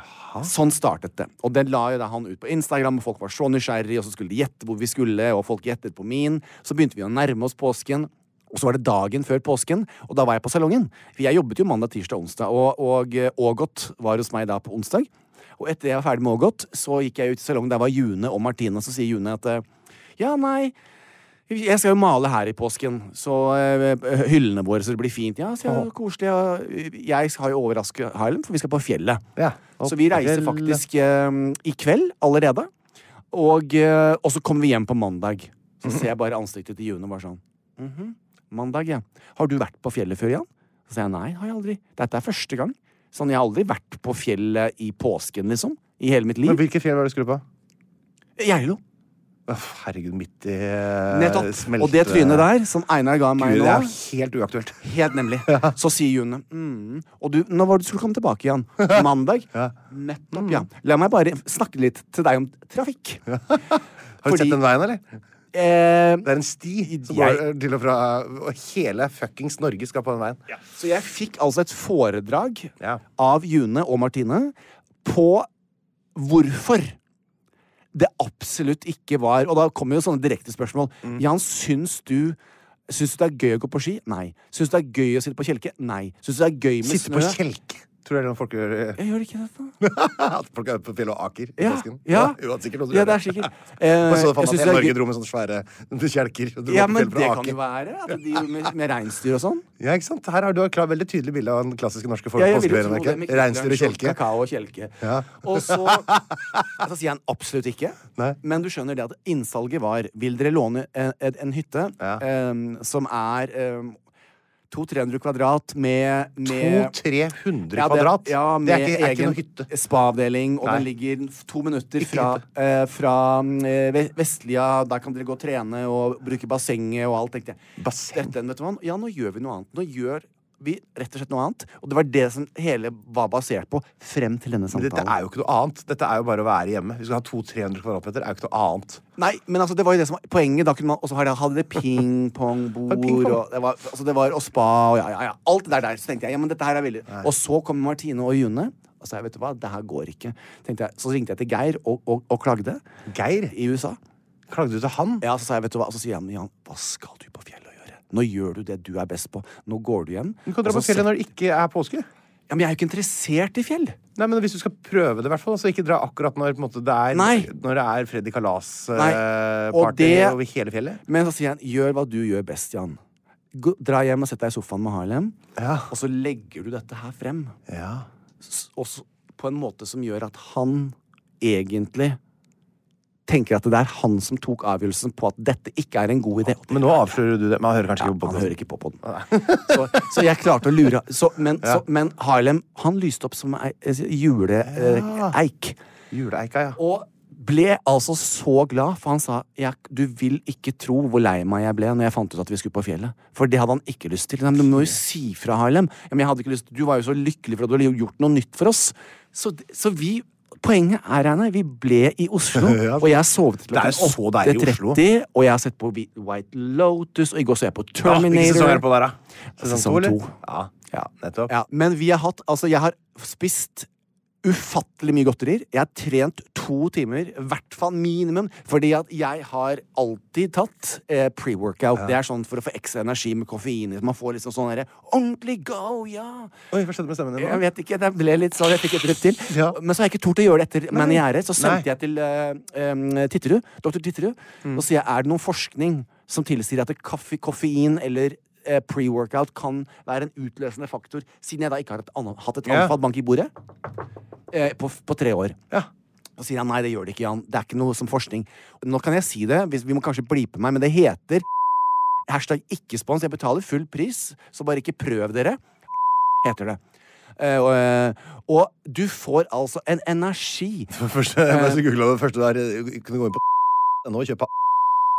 Speaker 2: Sånn startet det. Og den la jo da han ut på Instagram, og folk var så nysgjerrige, og så skulle de gjette hvor vi skulle, og folk gjettet på min. Så begynte vi å nærme oss påsken. Og så var det dagen før påsken, og da var jeg på salongen. For jeg jobbet jo mandag, tirsdag, onsdag, og, og eh, Ågot var hos meg da på onsdag. Og etter jeg var ferdig med Ågot, så gikk jeg ut i salongen. Der var June og Martine, så sier June at eh, ja, nei jeg skal jo male her i påsken, så eh, hyllene våre, så det blir fint. Ja, så ja, koselig. Ja. Jeg har jo overraske Harlem, for vi skal på fjellet.
Speaker 1: Ja, og
Speaker 2: så vi reiser
Speaker 1: fjellet.
Speaker 2: faktisk eh, i kveld allerede. Og, eh, og så kommer vi hjem på mandag.
Speaker 1: Mhm.
Speaker 2: Så ser jeg bare ansiktet til June bare sånn. «Mhm, Mandag, ja. Har du vært på fjellet før, Jan? Så sier jeg nei, har jeg aldri. Dette er første gang. Sånn, jeg har aldri vært på fjellet i påsken, liksom. I hele mitt
Speaker 1: Men
Speaker 2: liv.
Speaker 1: hvilke fjell var det du skulle på?
Speaker 2: Geilo.
Speaker 1: Uff, Herregud, midt i eh,
Speaker 2: Nettopp.
Speaker 1: smelte-
Speaker 2: Og det trynet der, som Einar ga meg
Speaker 1: Guri, det
Speaker 2: nå
Speaker 1: er helt uaktuelt.
Speaker 2: Helt nemlig. Så sier June mm, Og du, når var det du skulle komme tilbake igjen? Mandag? Nettopp, ja. La meg bare snakke litt til deg om trafikk.
Speaker 1: Har Mm. du
Speaker 2: Fordi-
Speaker 1: sett den veien, eller?
Speaker 2: Eh,
Speaker 1: Det er en sti som
Speaker 2: Jeg-
Speaker 1: går eh, til og fra Og hele fuckings Norge skal på den veien.
Speaker 2: så jeg fikk altså et foredrag
Speaker 1: Ja.
Speaker 2: av June og Martine på hvorfor det absolutt ikke var Og da kommer jo sånne direkte spørsmål.
Speaker 1: Mm.
Speaker 2: Jan, syns du Syns du det er gøy å gå på ski? Nei. Syns du det er gøy å sitte på kjelke? Nei. Syns du det er gøy med
Speaker 1: Sitte
Speaker 2: snø?
Speaker 1: på kjelke. Tror du det er noe folk gjør? eh,
Speaker 2: Jeg gjør ikke dette.
Speaker 1: At folk er på fjellet og aker i
Speaker 2: Ja,
Speaker 1: påsken?
Speaker 2: ja.
Speaker 1: jo, at sikkert noen som
Speaker 2: Ja,
Speaker 1: gjør
Speaker 2: det er sikkert.
Speaker 1: Og så
Speaker 2: Eh,
Speaker 1: fant at
Speaker 2: jeg syns
Speaker 1: hele
Speaker 2: det er
Speaker 1: Norge
Speaker 2: gøy-
Speaker 1: dro med sånne svære kjelker. Og dro
Speaker 2: Ja,
Speaker 1: på
Speaker 2: men
Speaker 1: fjellet for å
Speaker 2: det kan
Speaker 1: ake.
Speaker 2: jo være. At de med, med reinsdyr og sånn.
Speaker 1: Ja, ikke sant? Her har du et klart, veldig tydelig bilde av den klassiske norske folk-
Speaker 2: Ja, jeg vil jo tro det
Speaker 1: påskeferien.
Speaker 2: med
Speaker 1: ikke? Reinsdyr og
Speaker 2: knekkebrød,
Speaker 1: kjelke.
Speaker 2: Kakao og kjelke. Og så, så sier han absolutt ikke.
Speaker 1: Nei.
Speaker 2: Men du skjønner det at innsalget var Vil dere låne en, en, en hytte
Speaker 1: Ja.
Speaker 2: em, som er em, 200-300 kvadrat med, med
Speaker 1: 200-300
Speaker 2: Ja, det-
Speaker 1: kvadrat?
Speaker 2: Ja,
Speaker 1: det er
Speaker 2: med
Speaker 1: ikke, er ikke
Speaker 2: egen
Speaker 1: noe hytte.
Speaker 2: Spa-avdeling, og den
Speaker 1: Nei.
Speaker 2: ligger to minutter
Speaker 1: Ikke
Speaker 2: fra, eh, fra eh, Ve- Vestlia. Der kan dere gå og trene og bruke bassenget og alt, tenkte jeg.
Speaker 1: Basseng?
Speaker 2: Dette, vet du hva? Ja, nå gjør vi noe annet. Nå gjør vi rett og slett noe annet. Og det var det som hele var basert på frem til denne
Speaker 1: Men
Speaker 2: samtalen.
Speaker 1: dette er jo ikke noe annet. Dette er jo bare å være hjemme. Vi skal ha 200-300 kvadratmeter. er jo ikke noe annet.
Speaker 2: Nei, men altså, det var jo det som var poenget. Da kunne man, og så har det- hadde det pingpongbord,
Speaker 1: Var det pingpong?
Speaker 2: og, det var- altså, det var- og spa og ja, ja, ja. Alt det der der. Så tenkte jeg, ja, men dette her er veldig Og så kom Martine og June. Og sa jeg, vet du hva, det her går ikke. Tenkte jeg, så ringte jeg til Geir og, og, og klagde
Speaker 1: Geir,
Speaker 2: i USA.
Speaker 1: klagde du til han?
Speaker 2: Ja, så sa jeg, vet du hva, og så sier han, Jan, hva skal du på fjellet og gjøre? Nå gjør du det du er best på. Nå går du hjem.
Speaker 1: Du kan dra
Speaker 2: og
Speaker 1: på
Speaker 2: så
Speaker 1: fjellet
Speaker 2: set-
Speaker 1: når det ikke er påske.
Speaker 2: Ja, men jeg er jo ikke interessert i fjell.
Speaker 1: Nei, men Hvis du skal prøve det, i hvert fall, så ikke dra akkurat når, på en måte, det, er,
Speaker 2: Nei.
Speaker 1: når det er Freddy
Speaker 2: Nei. Og
Speaker 1: Kalas-party
Speaker 2: det-
Speaker 1: over hele fjellet.
Speaker 2: Men så sier han, gjør hva du gjør best, Jan. Gå, dra hjem og sett deg i sofaen med Harlem,
Speaker 1: Ja.
Speaker 2: og så legger du dette her frem.
Speaker 1: Ja.
Speaker 2: S- Og så, på en måte som gjør at han egentlig tenker at det er han som tok avgjørelsen på at dette ikke er en god idé. Og det
Speaker 1: Men nå avslører du det. Man hører kanskje
Speaker 2: ja,
Speaker 1: ikke på
Speaker 2: han
Speaker 1: podcasten.
Speaker 2: hører ikke på på den. Så, så jeg klarte å lure så, men, så, men Harlem han lyste opp som ei eh, juleeik.
Speaker 1: Juleeika, ja.
Speaker 2: Og ble altså så glad, for han sa jeg, du vil ikke tro hvor lei meg jeg ble når jeg fant ut at vi skulle på fjellet. For det hadde han ikke lyst til. Nei, Men du må jo si fra, Harlem. Ja, men jeg hadde ikke lyst Du var jo så lykkelig for at du hadde gjort noe nytt for oss. Så, d- så vi Poenget er, Einar, vi ble i Oslo, og jeg sovet til
Speaker 1: Det er jo så deilig i Oslo.
Speaker 2: 8.30, og jeg har sett på Whi- White Lotus, og i går så jeg på
Speaker 1: Ja, hvilken sesong er
Speaker 2: Terminator.
Speaker 1: det på der, da?
Speaker 2: Sesong
Speaker 1: eller?
Speaker 2: to.
Speaker 1: Ja,
Speaker 2: Ja.
Speaker 1: nettopp.
Speaker 2: Ja, men vi har hatt Altså, jeg har spist ufattelig mye godterier. Jeg har trent to timer, i hvert fall minimum, fordi at jeg har alltid tatt eh, pre-workout. Det er sånn for å få ekstra energi med koffein. Man får liksom sånn derre ordentlig go, ja!
Speaker 1: Oi, hva skjedde med stemmen din?
Speaker 2: Jeg
Speaker 1: nå?
Speaker 2: vet ikke, det ble litt sånn, jeg fikk et rett til.
Speaker 1: Ja.
Speaker 2: Men så har jeg ikke tort å gjøre det etter Maniere. Så sendte
Speaker 1: Nei.
Speaker 2: jeg til eh, em, Titterud, doktor Titterud,
Speaker 1: Mm.
Speaker 2: og sier jeg er det noen forskning som tilsier at kaffe, koffein eller eh, pre-workout kan være en utløsende faktor, siden jeg da ikke har et anna- hatt et
Speaker 1: Ja.
Speaker 2: anfall bank i bordet eh, på, på tre år.
Speaker 1: Ja.
Speaker 2: Og sier han nei, det gjør det ikke, Jan. Det er ikke noe som forskning. Nå kan jeg si det, hvis, vi må kanskje blipe meg, men det heter hashtag ikke spons. Jeg betaler full pris, så bare ikke prøv dere, heter det. Eh, og, eh, og du får altså en energi
Speaker 1: Først, jeg bare så googlet det første der. Du Kunne gå inn på nå og kjøpe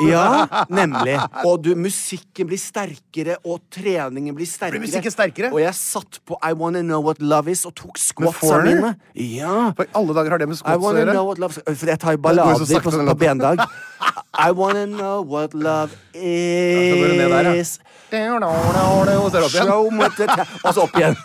Speaker 2: Ja, nemlig. Og du, musikken blir sterkere, og treningen blir sterkere.
Speaker 1: Blir musikken sterkere?
Speaker 2: Og jeg satt på I Wanna Know What Love Is og tok squatsa
Speaker 1: Foreigner?
Speaker 2: mine. Ja.
Speaker 1: Hva i alle dager har det med
Speaker 2: I
Speaker 1: squats å
Speaker 2: wanna
Speaker 1: gjøre?
Speaker 2: know what love is For jeg tar
Speaker 1: Det
Speaker 2: jo
Speaker 1: er
Speaker 2: ballader
Speaker 1: noe som
Speaker 2: på,
Speaker 1: sakte
Speaker 2: på
Speaker 1: den
Speaker 2: bendag. I wanna know what love
Speaker 1: så går det ned der, ja.
Speaker 2: is
Speaker 1: Og så er det opp igjen.
Speaker 2: Show me the ta- Og så opp igjen.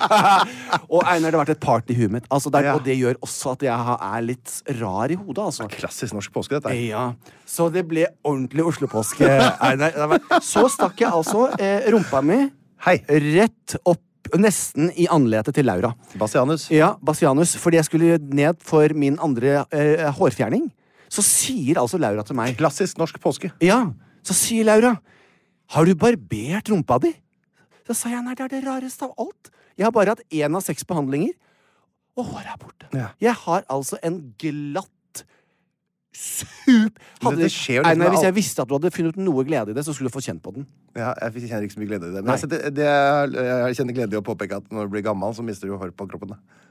Speaker 2: og Einar, det har vært et party i huet mitt. Altså, det er,
Speaker 1: Ja.
Speaker 2: Og det gjør også at jeg ha- er litt rar i hodet, altså.
Speaker 1: Klassisk norsk påske, dette. her.
Speaker 2: Ja, Så det ble ordentlig Oslo-påske. Einar. Det var- Så stakk jeg altså eh, rumpa mi
Speaker 1: Hei.
Speaker 2: rett opp, nesten i anletet til Laura.
Speaker 1: Bassianus.
Speaker 2: Ja, Bassianus, fordi jeg skulle ned for min andre eh, hårfjerning. Så sier altså Laura til meg
Speaker 1: Klassisk norsk påske.
Speaker 2: Ja, så sier Laura Har du barbert rumpa di? Så sa jeg nei, det er det rareste av alt. Jeg har bare hatt én av seks behandlinger, og håret er borte.
Speaker 1: Ja.
Speaker 2: Jeg har altså en glatt sup...
Speaker 1: Men dette skjer jo liksom
Speaker 2: Einar,
Speaker 1: med
Speaker 2: hvis
Speaker 1: alt.
Speaker 2: jeg visste at du hadde funnet noe glede i det, så skulle du fått kjent på den.
Speaker 1: Ja, jeg kjenner ikke så mye glede i det. Men jeg, setter- det er- jeg kjenner glede i å påpeke at når du blir gammel, så mister du hår på kroppen. da.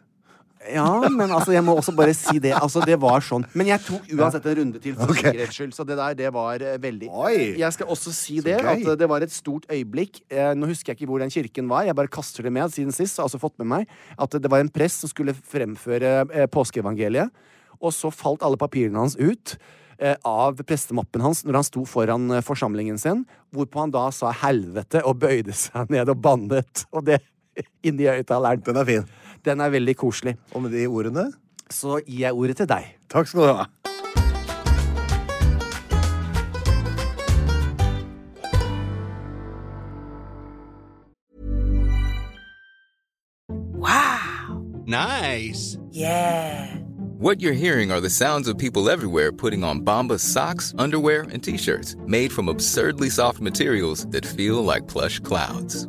Speaker 2: Ja, men altså, jeg må også bare si det. Altså, det var sånn. Men jeg tok uansett en runde til for
Speaker 1: Ok.
Speaker 2: sikkerhets skyld, så det der, det var eh, veldig
Speaker 1: Oi.
Speaker 2: Jeg skal også si
Speaker 1: Så
Speaker 2: det,
Speaker 1: gøy.
Speaker 2: at eh, det var et stort øyeblikk. Eh, nå husker jeg ikke hvor den kirken var, jeg bare kaster det med siden sist. Altså fått med meg At eh, det var en prest som skulle fremføre eh, påskeevangeliet, og så falt alle papirene hans ut. eh, Av prestemappen hans når han sto foran eh, forsamlingen sin, hvorpå han da sa 'helvete' og bøyde seg ned og bannet. Og det inni høyttaleren.
Speaker 1: Den er fin.
Speaker 2: Den er veldig koselig.
Speaker 1: Og med de ordene
Speaker 2: Så gir jeg ordet til deg.
Speaker 1: Takk skal du ha.
Speaker 3: Nice. Yeah. What you're hearing are the sounds of people everywhere putting on Bombas socks, underwear, and t-shirts made from absurdly soft materials that feel like plush clouds.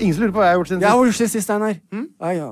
Speaker 1: Ingen som lurer på hva jeg har gjort siden
Speaker 2: Ja,
Speaker 1: sist?
Speaker 2: hvor skjedde sist, Einar? Nei, Mm? ja.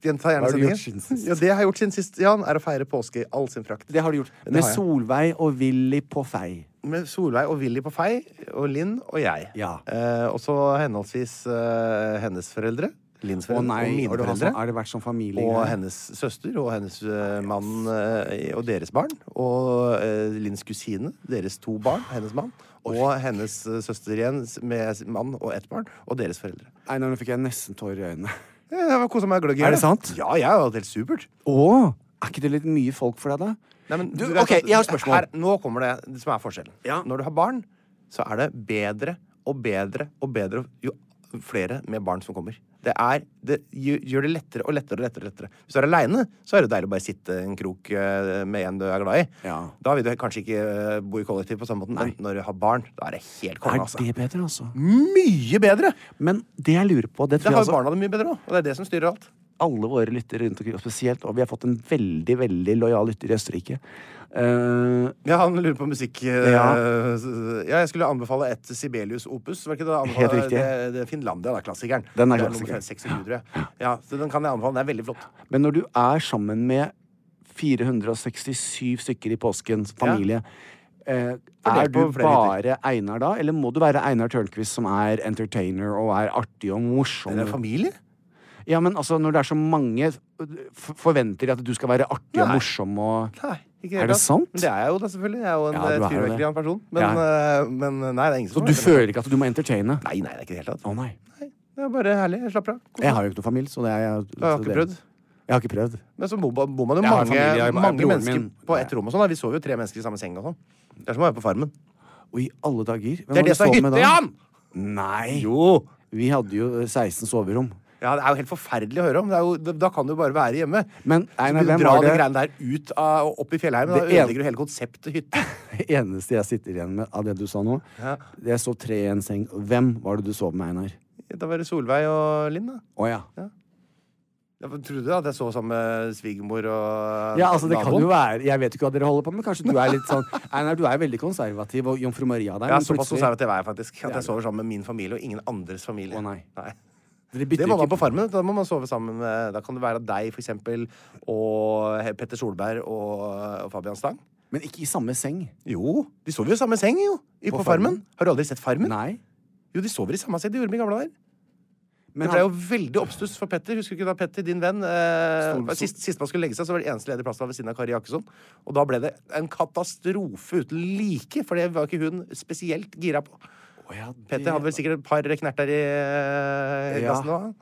Speaker 1: Gjenta gjerne
Speaker 2: Hva har du gjort siden
Speaker 1: sendingen.
Speaker 2: sist?
Speaker 1: Ja, det jeg har gjort siden sist, Jan, er å feire påske i all sin prakt.
Speaker 2: Det har du gjort.
Speaker 1: Det
Speaker 2: Med
Speaker 1: har jeg.
Speaker 2: Solveig og Willy på fei.
Speaker 1: Med Solveig og Willy på fei, og Linn og jeg.
Speaker 2: Ja.
Speaker 1: Eh, og så henholdsvis eh, hennes foreldre, Linns
Speaker 2: Å
Speaker 1: foreldre
Speaker 2: nei,
Speaker 1: og mine
Speaker 2: har, du hatt
Speaker 1: foreldre.
Speaker 2: sånn, har det vært sånn familie?
Speaker 1: Og hennes søster og hennes eh, mann eh, og deres barn. Og eh, Linns kusine, deres to barn, hennes mann. Og hennes eh, søster igjen s- med mann og ett barn. Og deres foreldre.
Speaker 2: Einar, nå fikk jeg nesten tårer i øynene.
Speaker 1: Ja, Jeg var kosa meg gløgg i hjel,
Speaker 2: Er det
Speaker 1: da.
Speaker 2: sant?
Speaker 1: Ja, jeg har hatt helt supert.
Speaker 2: Å! Er ikke det litt mye folk for deg, da?
Speaker 1: Nei, men
Speaker 2: Du,
Speaker 1: du vet
Speaker 2: ok,
Speaker 1: at
Speaker 2: jeg har et spørsmål.
Speaker 1: Her, nå kommer det, det som er forskjellen.
Speaker 2: Ja.
Speaker 1: Når du har barn, så er det bedre og bedre og bedre jo flere med barn som kommer. Det, er, det gjør gjør det lettere og lettere og lettere. og lettere. Hvis du er aleine, så er det deilig å bare sitte i en krok eh, med en du er glad i.
Speaker 2: Ja.
Speaker 1: Da vil du kanskje ikke eh, bo i kollektiv på samme måten, men når du har barn, da er det helt konge,
Speaker 2: Er
Speaker 1: altså.
Speaker 2: det bedre, altså?
Speaker 1: Mye bedre!
Speaker 2: Men det jeg lurer på Det
Speaker 1: Det har
Speaker 2: tror
Speaker 1: jo
Speaker 2: jeg altså
Speaker 1: barna det mye bedre òg, og det er det som styrer alt.
Speaker 2: alle våre lyttere rundt omkring, og spesielt Og vi har fått en veldig, veldig lojal lytter i Østerrike. Eh,
Speaker 1: Ja, han lurer på musikk eh,
Speaker 2: Ja.
Speaker 1: s- s- ja, jeg skulle anbefale et Sibelius opus. Var ikke det, anbefale-
Speaker 2: Helt riktig.
Speaker 1: Det, det er Finlandia, da. Klassikeren.
Speaker 2: Den er
Speaker 1: Det
Speaker 2: klassikeren.
Speaker 1: nummer 26, tror jeg. Ja, så den kan jeg anbefale. Den er veldig flott.
Speaker 2: men når du er sammen med 467 stykker i påsken, familie eh,
Speaker 1: Fordelt
Speaker 2: Er du
Speaker 1: på flere
Speaker 2: bare Einar da, eller må du være Einar Tørnquist som er entertainer og er artig og
Speaker 1: Den er
Speaker 2: morsom?
Speaker 1: familie.
Speaker 2: Ja, men altså, når det er så mange, f- forventer de at du skal være artig og
Speaker 1: Nei.
Speaker 2: morsom og
Speaker 1: Nei, ikke i
Speaker 2: Er
Speaker 1: hele
Speaker 2: det
Speaker 1: tatt.
Speaker 2: sant?
Speaker 1: Men det er jeg jo da, selvfølgelig. Jeg er jo en
Speaker 2: Ja,
Speaker 1: eh,
Speaker 2: du er jo det.
Speaker 1: fyrverkeri av en person. Men, eh, men eh, nei, det er ingen
Speaker 2: Så
Speaker 1: som
Speaker 2: du
Speaker 1: er det.
Speaker 2: føler ikke at du må entertaine?
Speaker 1: Nei, nei, det er ikke i det hele tatt.
Speaker 2: Å nei.
Speaker 1: Det er bare herlig. Jeg slapper av. Kos
Speaker 2: Jeg
Speaker 1: meg.
Speaker 2: har jo ikke noen familie, så det er jeg
Speaker 1: Jeg har ikke prøvd.
Speaker 2: Jeg har ikke prøvd.
Speaker 1: Men så bor, bor man jo
Speaker 2: Jeg har
Speaker 1: mange,
Speaker 2: familie, jeg-
Speaker 1: mange
Speaker 2: broren
Speaker 1: mennesker
Speaker 2: min-
Speaker 1: på ett rom og sånn. da. Vi sover jo tre mennesker i samme seng og sånn. Det er som å være på Farmen.
Speaker 2: Og i alle dager hvem
Speaker 1: Det
Speaker 2: var
Speaker 1: er det
Speaker 2: du
Speaker 1: som er
Speaker 2: sov med da?
Speaker 1: hytte, Jan!
Speaker 2: Nei!
Speaker 1: Jo!
Speaker 2: Vi hadde jo eh, 16 soverom.
Speaker 1: Ja, Det er jo helt forferdelig å høre om. Det er jo, da- da kan du jo bare være hjemme.
Speaker 2: Men,
Speaker 1: så
Speaker 2: Einar,
Speaker 1: begynner
Speaker 2: hvem
Speaker 1: du å dra
Speaker 2: var
Speaker 1: de
Speaker 2: det-
Speaker 1: greiene der ut av, og opp i fjellheimen. Da
Speaker 2: Det en-
Speaker 1: ødelegger du hele konseptet hytte.
Speaker 2: Det eneste jeg sitter igjen med av det du sa nå, det jeg sov tre i en seng. Hvem var det du sov med, Einar?
Speaker 1: Da var det Solveig og Linn, da.
Speaker 2: Å ja.
Speaker 1: Jeg trodde at jeg så sammen med svigermor og
Speaker 2: Ja, altså det kan
Speaker 1: naboen.
Speaker 2: jo være Jeg vet jo ikke hva dere holder på med, men kanskje du er litt sånn Einar, du er veldig konservativ og jomfru Maria der,
Speaker 1: Jeg er
Speaker 2: men
Speaker 1: såpass
Speaker 2: plutselig
Speaker 1: konservativ er jeg faktisk. At jeg sover sammen med min familie og ingen andres familie.
Speaker 2: Å, nei.
Speaker 1: Nei.
Speaker 2: Dere
Speaker 1: Det
Speaker 2: bytter
Speaker 1: må
Speaker 2: jo
Speaker 1: man
Speaker 2: ikke
Speaker 1: på Farmen. Da må man sove sammen med Da kan det være deg, for eksempel, og he- Petter Solberg og, og Fabian Stang.
Speaker 2: Men ikke i samme seng.
Speaker 1: Jo, de sover jo i samme seng, jo! I,
Speaker 2: På
Speaker 1: på,
Speaker 2: Farmen?
Speaker 1: farmen. Har du aldri sett Farmen?
Speaker 2: Nei.
Speaker 1: Jo, de sover i samme seng. Det gjorde de i gamle dager.
Speaker 2: Men
Speaker 1: det ble jo
Speaker 2: han-
Speaker 1: veldig oppstuss for Petter. Husker du ikke da Petter, din venn eh,
Speaker 2: Stol-
Speaker 1: sist, sist man skulle legge seg, så var det eneste ledige plassen ved siden av Kari Jakkesson. Og da ble det en katastrofe uten like, for det var ikke hun spesielt gira på.
Speaker 2: Å ja, det-
Speaker 1: Petter hadde vel sikkert et par knerter i eh,
Speaker 2: Ja.
Speaker 1: gassen òg.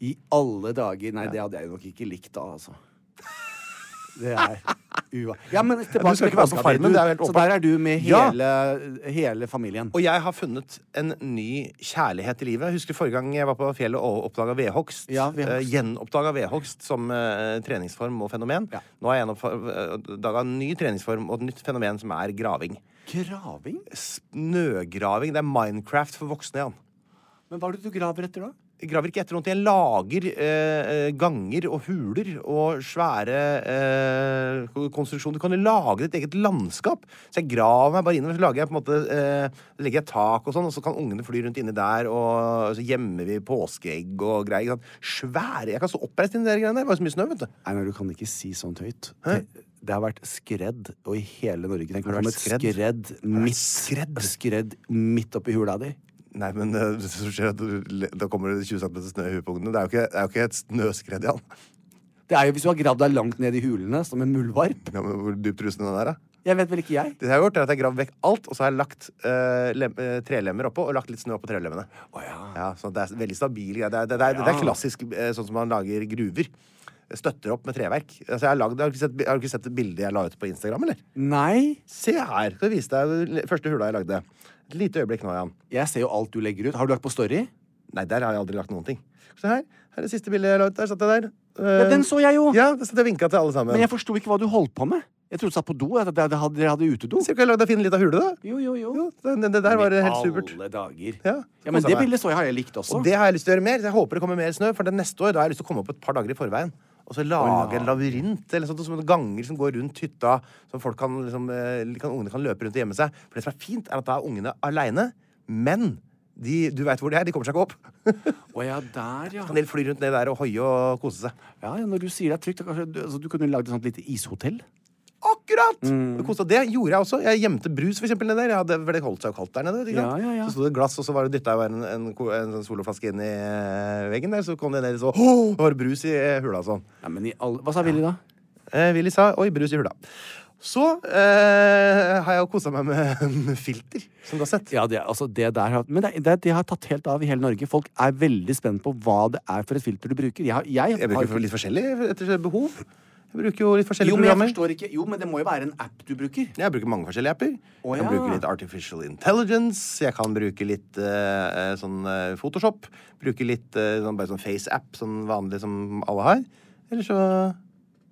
Speaker 2: I alle dager. Nei, det hadde jeg nok ikke likt da, altså. Det er ua... Ja, men tilbake
Speaker 1: skal ikke være på Farmen, det er helt
Speaker 2: Så
Speaker 1: åpenbart.
Speaker 2: der er du med
Speaker 1: Ja.
Speaker 2: hele, hele familien.
Speaker 1: Og jeg har funnet en ny kjærlighet i livet. Jeg husker forrige gang jeg var på fjellet og oppdaga vedhogst.
Speaker 2: Ja,
Speaker 1: Eh,
Speaker 2: vedhogst.
Speaker 1: gjenoppdaga vedhogst som eh, treningsform og fenomen.
Speaker 2: Ja.
Speaker 1: Nå har jeg gjenoppdaga en ny treningsform og et nytt fenomen, som er graving.
Speaker 2: Graving?
Speaker 1: Snøgraving. Det er Minecraft for voksne, Jan.
Speaker 2: Men hva er det du graver etter, da?
Speaker 1: Jeg graver ikke etter noe. Jeg lager eh, ganger og huler og svære eh, konstruksjoner. Du kan jo lage ditt eget landskap. Så jeg graver meg bare innover. Så lager jeg på en måte eh, legger jeg tak og sånn, og så kan ungene fly rundt inni der. Og så gjemmer vi påskeegg og greier. ikke sant? Svære Jeg kan stå oppreist inni de greiene der. Det var jo så mye snø, vet du.
Speaker 2: Einar, du kan ikke si sånt høyt. Det, det har vært skredd, og i hele Norge Tenk
Speaker 1: Har
Speaker 2: om
Speaker 1: det
Speaker 2: det
Speaker 1: vært
Speaker 2: et skredd midt,
Speaker 1: skredd?
Speaker 2: skredd midt oppi hula di.
Speaker 1: Nei, men eh, det som skjer, er at du- da kommer det 20 cm snø i huet på ungene. Det er jo ikke, det er jo ikke et snøskred, Jan.
Speaker 2: Det er jo Hvis du har gravd deg langt ned i hulene, som en muldvarp
Speaker 1: Ja, men Hvor dypt rusen den er, da?
Speaker 2: Jeg vet vel ikke jeg.
Speaker 1: Det jeg har gjort er at jeg har gravd vekk alt, og så har jeg lagt eh, lem, eh, trelemmer oppå og lagt litt snø oppå trelemmene. Ja, så det er veldig stabil greie. Det, er- det, er- det er klassisk eh, sånn som man lager gruver. Støtter opp med treverk. Altså, jeg har, lagd, har, du ikke sett, har du ikke sett det bildet jeg la ut på Instagram, eller?
Speaker 2: Nei.
Speaker 1: Se her! Skal jeg vise deg den første hula jeg lagde. Et lite øyeblikk nå, Jan.
Speaker 2: Jeg ser jo alt du legger ut. Har du lagt på
Speaker 1: Eh,
Speaker 2: Story?
Speaker 1: Nei, der har jeg aldri lagt noen ting. Se her. Her er det siste bildet jeg la ut. Der satt jeg der. Eh,
Speaker 2: Ja, den så jeg jo!
Speaker 1: Ja, der satt jeg og vinka til alle sammen.
Speaker 2: Men jeg forsto ikke hva du holdt på med. Jeg trodde du satt på do. At dere hadde, dere hadde utedo.
Speaker 1: Se hva jeg lagde av fin lita hule, da.
Speaker 2: Jo, jo, jo.
Speaker 1: Jo, den- den- det der var helt supert.
Speaker 2: Alle dager.
Speaker 1: Ja,
Speaker 2: Ja, men
Speaker 1: kosa
Speaker 2: det
Speaker 1: meg.
Speaker 2: bildet så jeg har jeg likt også.
Speaker 1: Og det har jeg lyst til å gjøre mer. så Jeg håper det kommer mer snø, for det neste år da har jeg lyst til å komme opp et par dager i forveien. Og så lage en labyrint eller sånt, og sånne ganger som går rundt hytta, som folk kan, liksom, eh, kan, ungene kan løpe rundt og gjemme seg. For det som er fint, er at da er ungene aleine, men de, du veit hvor de er. De kommer seg ikke opp.
Speaker 2: Å ja, der, ja.
Speaker 1: Kan de fly rundt ned der og hoie og kose seg.
Speaker 2: ja. ja, Når du sier det er trygt, da kanskje du, altså, du kunne lagd et sånt lite ishotell.
Speaker 1: Akkurat!
Speaker 2: Mm.
Speaker 1: Og kose- og Det gjorde jeg også. Jeg gjemte brus for eksempel, ned der. Jeg hadde, for det holdt seg jo kaldt der nede. Ikke sant?
Speaker 2: Ja, ja, ja.
Speaker 1: Så sto det et glass, og så var det dytta en, en, ko- en sånn soloflaske inn i eh, veggen der. Så kom det ned, og så «Åh!» var det brus i eh, hula og sånn.
Speaker 2: Ja, men i alle... Hva sa Willy da?
Speaker 1: Eh, Willy sa 'oi, brus i hula'. Så eh, har jeg jo kosa meg med en filter som Gassett.
Speaker 2: Ja, det, altså det der, har- men det, det, det har tatt helt av i hele Norge. Folk er veldig spent på hva det er for et filter du bruker. Jeg, har- jeg,
Speaker 1: Jeg bruker
Speaker 2: har-
Speaker 1: for litt forskjellig etter behov. Jeg bruker jo litt forskjellige
Speaker 2: jo, men jeg
Speaker 1: programmer.
Speaker 2: forstår ikke. Jo, men det må jo være en app du bruker.
Speaker 1: Jeg bruker mange forskjellige apper.
Speaker 2: Å,
Speaker 1: Jeg
Speaker 2: ja.
Speaker 1: kan bruke litt Artificial Intelligence. Jeg kan bruke litt eh, eh, sånn eh, Photoshop. Bruke litt eh, sånn, bare sånn FaceApp, sånn vanlig som alle har. Eller så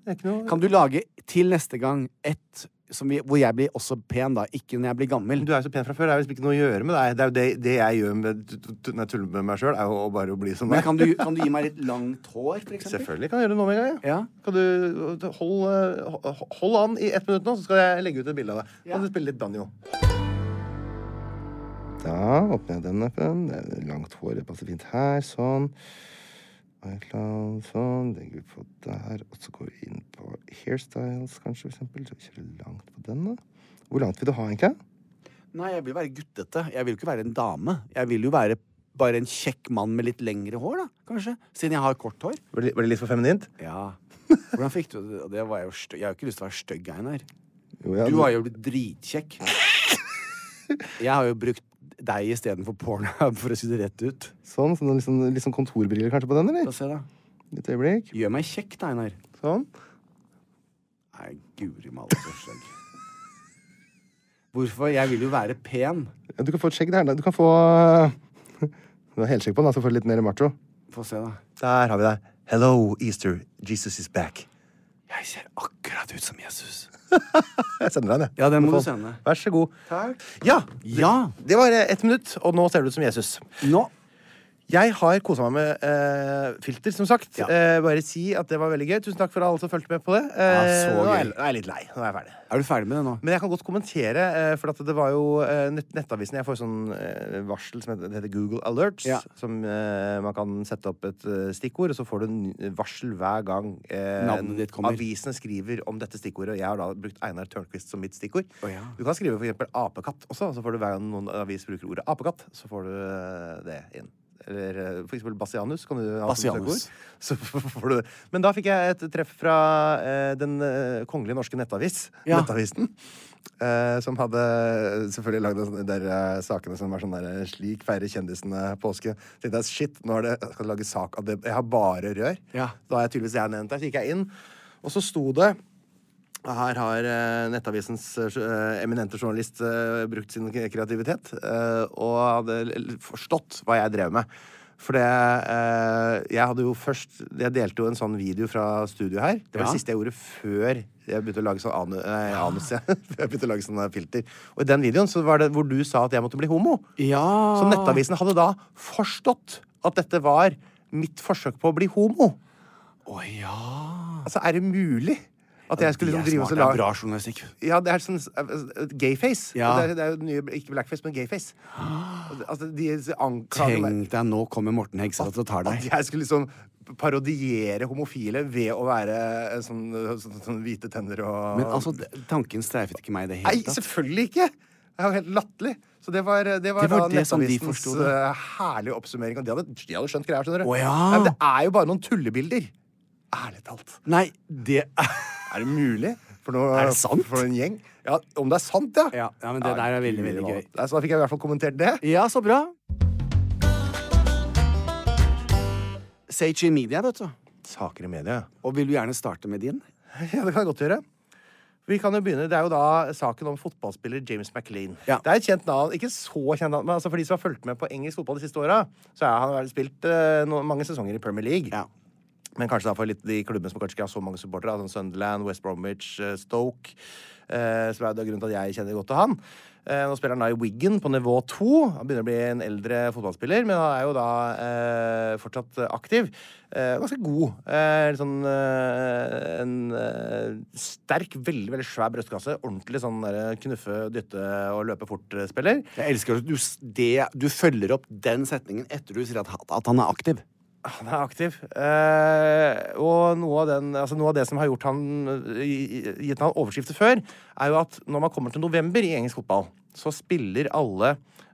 Speaker 1: det er ikke noe
Speaker 2: Kan du lage til neste gang et som vi, hvor jeg blir også pen, da? Ikke når jeg blir gammel.
Speaker 1: Du er jo så pen fra før. Det er jo liksom ikke noe å gjøre med deg. Det er jo det, det jeg gjør med, t- t- når jeg tuller med meg sjøl, er jo å bare å bli som
Speaker 2: Men
Speaker 1: deg.
Speaker 2: kan du, kan du gi meg litt langt hår, for eksempel?
Speaker 1: Selvfølgelig kan jeg gjøre det nå med en gang.
Speaker 2: Ja.
Speaker 1: Kan du hold, eh, ho- hold an i ett minutt nå, så skal jeg legge ut et bilde av deg. Kan du spille litt banjo? Da åpner jeg den appen. Det er langt hår. Det passer fint her. Sånn. iCloud, sånn. Legger vi på der. Og så går vi inn på hairstyles, kanskje, for eksempel. Så vi kjører langt på den, da. Hvor langt vil du ha, egentlig?
Speaker 2: Nei, jeg vil være guttete. Jeg vil ikke være en dame. Jeg vil jo være bare en kjekk mann med litt lengre hår, da, kanskje. Siden jeg har kort hår.
Speaker 1: Var det, var det litt for feminint?
Speaker 2: Ja. Hvordan fikk du det? det var jeg, jo stø- jeg har jo ikke lyst til å være stygg, Einar. Du har jo blitt dritkjekk. Jeg har jo brukt deg istedenfor Pornhub, for å si det rett ut.
Speaker 1: Sånn, sånn liksom, liksom kontorbriller kanskje på den,
Speaker 2: Få
Speaker 1: eller?
Speaker 2: se, da.
Speaker 1: Litt øyeblikk.
Speaker 2: Gjør meg kjekk, da, Einar.
Speaker 1: Sånn.
Speaker 2: Nei, guri malla så skjegg. Hvorfor? Jeg vil jo være pen.
Speaker 1: Ja, du kan få et skjegg der. da. Du kan få Du har helskjegg på den, da, så får du litt mer macho.
Speaker 2: Få se, da.
Speaker 1: Der har vi deg. Hello, Easter. Jesus is back.
Speaker 2: Jeg ser akkurat ut som Jesus.
Speaker 1: Jeg sender deg den, jeg.
Speaker 2: Ja, den må du sende.
Speaker 1: Vær så god.
Speaker 2: Takk.
Speaker 1: Ja!
Speaker 2: Ja!
Speaker 1: Det var eh, ett minutt, og nå ser du ut som Jesus.
Speaker 2: Nå
Speaker 1: Jeg har kosa meg med eh, filter, som sagt.
Speaker 2: Ja.
Speaker 1: Eh, bare si at det var veldig gøy. Tusen takk for alle som fulgte med på det. Eh,
Speaker 2: Ja, så
Speaker 1: nå, er jeg,
Speaker 2: gøy.
Speaker 1: nå er jeg litt lei. Nå er jeg ferdig.
Speaker 2: Er du ferdig med det nå?
Speaker 1: Men jeg kan godt kommentere, eh, for at det var jo eh, nett nettavisen Jeg får sånn eh, varsel som heter, det heter Google Alerts,
Speaker 2: Ja.
Speaker 1: som eh, man kan sette opp et eh, stikkord, og så får du en ny- varsel hver gang eh,
Speaker 2: Navnet ditt kommer.
Speaker 1: avisene skriver om dette stikkordet. Jeg har da brukt Einar Tørnquist som mitt stikkord.
Speaker 2: Å, ja.
Speaker 1: Du kan skrive for eksempel apekatt også, og så får du hver gang noen avis bruker ordet apekatt, så får du eh, det inn. Eller eh, for eksempel Bassianus. Kan du ha som
Speaker 2: Bassianus.
Speaker 1: søkeord. Så får du det. Men da fikk jeg et treff fra eh, den eh, kongelige norske nettavis,
Speaker 2: Ja.
Speaker 1: Nettavisen. Eh, som hadde selvfølgelig lagd en sånn- de der eh, sakene som var sånn der eh, Slik feirer kjendisene påske. Så tenkte jeg shit, nå er det, jeg skal lage sak av det. Jeg har bare rør.
Speaker 2: Ja.
Speaker 1: Da har jeg tydeligvis jeg nevnt der. Så gikk jeg inn, og så sto det her har eh, Nettavisens eh, eminente journalist eh, brukt sin kreativitet eh, og hadde l- forstått hva jeg drev med. For det eh, Jeg hadde jo først Jeg delte jo en sånn video fra studio her. Det var
Speaker 2: Ja.
Speaker 1: det siste jeg gjorde før jeg begynte å lage sånn anu, nei, anus. ja. Før jeg begynte å lage sånne filter. Og i den videoen så var det hvor du sa at jeg måtte bli homo.
Speaker 2: Ja.
Speaker 1: Så Nettavisen hadde da forstått at dette var mitt forsøk på å bli homo.
Speaker 2: Å ja.
Speaker 1: Altså, er det mulig? At jeg skulle
Speaker 2: De er
Speaker 1: liksom drive oss og
Speaker 2: smarte. Det
Speaker 1: lage
Speaker 2: er bra journalistikk.
Speaker 1: ja, det er sånn eh, gayface.
Speaker 2: Ja.
Speaker 1: Det, er, det er jo den nye, ikke blackface, men gayface. Altså, de anklager meg
Speaker 2: Tenk deg, nå kommer Morten Hegseth og tar
Speaker 1: at
Speaker 2: deg.
Speaker 1: jeg skulle liksom parodiere homofile ved å være eh, sånn, sånn, sånn hvite tenner og
Speaker 2: Men altså, d- tanken streifet ikke meg i det
Speaker 1: Nei,
Speaker 2: hele tatt.
Speaker 1: selvfølgelig ikke! Det er jo helt latterlig. Så det var, det var,
Speaker 2: Det var
Speaker 1: da
Speaker 2: det som de
Speaker 1: Nettavisens
Speaker 2: forsto det.
Speaker 1: eh, herlige oppsummering. Og de hadde, de hadde skjønt greia, skjønner du.
Speaker 2: Å, ja.
Speaker 1: Nei, men det er jo bare noen tullebilder. Ærlig talt.
Speaker 2: Nei, det er
Speaker 1: Er det mulig? For nå,
Speaker 2: Er det sant?
Speaker 1: For en gjeng. Ja, om det er sant, ja.
Speaker 2: Ja, ja, men det der er veldig, veldig gøy.
Speaker 1: Nei, Så da fikk jeg i hvert fall kommentert det.
Speaker 2: Ja, så bra. Sage i media, vet du.
Speaker 1: Saker i media.
Speaker 2: Og vil du gjerne starte med din?
Speaker 1: Ja, det kan jeg godt gjøre. Vi kan jo begynne, Det er jo da saken om fotballspiller James McLean.
Speaker 2: Ja.
Speaker 1: Det er et kjent navn. Ikke så kjent navn, men altså for de som har fulgt med på engelsk fotball de siste åra, så har han vel spilt eh, no mange sesonger i Premier League.
Speaker 2: Ja.
Speaker 1: Men kanskje da for litt de klubbene som kanskje ikke har så mange supportere. da, Sånn Sunderland, West Bromwich, eh, Stoke. eh, Som er det grunnen til at jeg kjenner godt til han. Eh, Nå spiller han da i Wiggen på nivå to. Han begynner å bli en eldre fotballspiller, men han er jo da eh, fortsatt eh, aktiv. Eh, ganske god. Eh, litt sånn eh, en eh, sterk, veldig veldig svær brystkasse. Ordentlig sånn der knuffe, dytte og løpe fort-spiller.
Speaker 2: Jeg elsker at du, s- det, du følger opp den setningen etter du sier at, at han er aktiv.
Speaker 1: Han er aktiv. Eh, og noe av, den, altså noe av det som har gjort han, i- i- gitt han overskrifter før, er jo at når man kommer til november i engelsk fotball, så spiller alle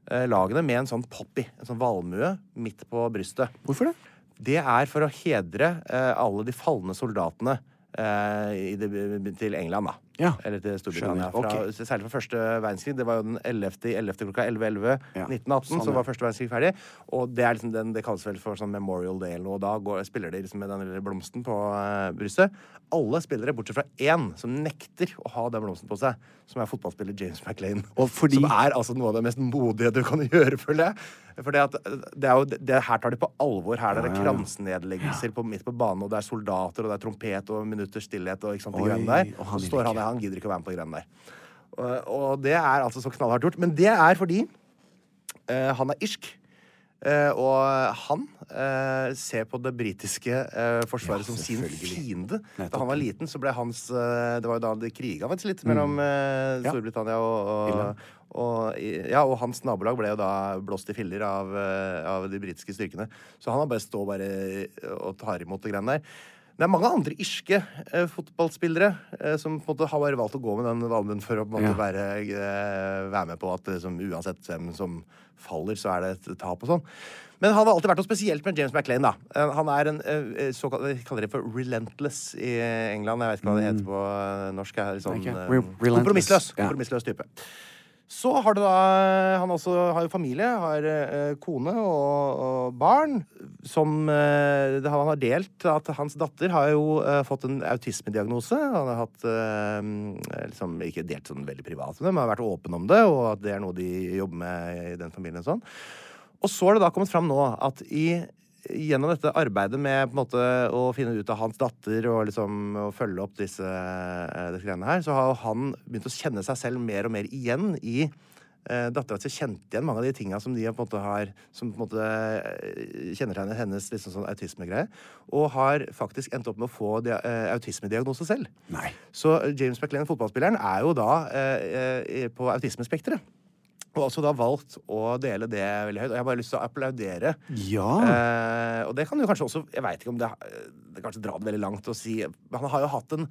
Speaker 1: eh, lagene med en sånn poppy, en sånn valmue, midt på brystet.
Speaker 2: Hvorfor det?
Speaker 1: Det er for å hedre eh, alle de falne soldatene eh, i det, til England, da.
Speaker 2: Ja.
Speaker 1: Eller til Storbritannia.
Speaker 2: Skjønner,
Speaker 1: Fra,
Speaker 2: ok.
Speaker 1: Særlig fra første verdenskrig. Det var jo den 11. i 11. klokka 11.11.
Speaker 2: Ja,
Speaker 1: 1918
Speaker 2: sånn,
Speaker 1: så
Speaker 2: ja.
Speaker 1: var første verdenskrig ferdig. Og det, er liksom den, det kalles vel for sånn Memorial Day eller noe. og Da går, spiller de liksom med den lille blomsten på eh, brystet. Alle spillere, bortsett fra én, som nekter å ha den blomsten på seg, som er fotballspiller James McLean.
Speaker 2: Og fordi-
Speaker 1: Som er altså noe av det mest modige du kan gjøre, føler jeg. For det, at, det er jo, det, her tar de på alvor. Her er det kransenedleggelser på, midt på banen, og det er soldater, og det er trompet og minutters stillhet og ikke sant, de
Speaker 2: Oi,
Speaker 1: greiene der.
Speaker 2: og han
Speaker 1: Og så
Speaker 2: vil
Speaker 1: står han
Speaker 2: ikke.
Speaker 1: der, han gidder ikke å være med på de greiene der. Og, og det er altså så knallhardt gjort. Men det er fordi eh, han er irsk. Eh, og han eh, ser på det britiske eh, forsvaret som sin fiende. Da han var liten, så ble hans eh, Det var jo da det kriga faktisk litt mellom eh,
Speaker 2: Mm. Ja.
Speaker 1: Storbritannia og, og, og i- Ja, og hans nabolag ble jo da blåst i filler av, eh, av de britiske styrkene. Så han har bare stå bare eh, og tar imot det greiene der. Det er mange andre irske eh, fotballspillere eh, som på en måte har bare valgt å gå med den valmuen for å på en måte
Speaker 2: Ja.
Speaker 1: være, eh, være med på at liksom, uansett hvem som faller, så er det et tap og sånn. Men han har alltid vært noe spesielt med James McLean. da. Eh, Han er en eh, såkalt De kaller det for relentless i England. Jeg vet ikke hva det heter på eh, norsk. Er litt sånn,
Speaker 2: Mm. Ikke?
Speaker 1: eh,
Speaker 2: Re- relentless.
Speaker 1: kompromissløs.
Speaker 2: Ja.
Speaker 1: kompromissløs type. Så har du da Han også har jo familie, har eh, kone og, og barn. Som eh, det, Han har delt at hans datter har jo eh, fått en autismediagnose. Han har hatt eh, liksom ikke delt sånn veldig privat med dem, men har vært åpen om det, og at det er noe de jobber med i den familien. og sånn. Og så har det da kommet fram nå at i, gjennom dette arbeidet med på en måte, å finne ut av hans datter og liksom, å følge opp disse, eh, disse greiene her, så har jo han begynt å kjenne seg selv mer og mer igjen i eh, Dattera si kjente igjen mange av de tinga som de på en måte har Som på en måte eh, kjennetegner hennes liksom sånn autismegreie. Og har faktisk endt opp med å få dia- eh, autismediagnose selv.
Speaker 2: Nei.
Speaker 1: Så eh, James McLean, fotballspilleren, er jo da eh, eh, på autismespekteret. Og også da valgt å dele det veldig høyt. Og jeg har bare lyst til å applaudere.
Speaker 2: Ja.
Speaker 1: Eh, og det kan jo kanskje også Jeg veit ikke om det, det kanskje drar det veldig langt å si Han har jo hatt en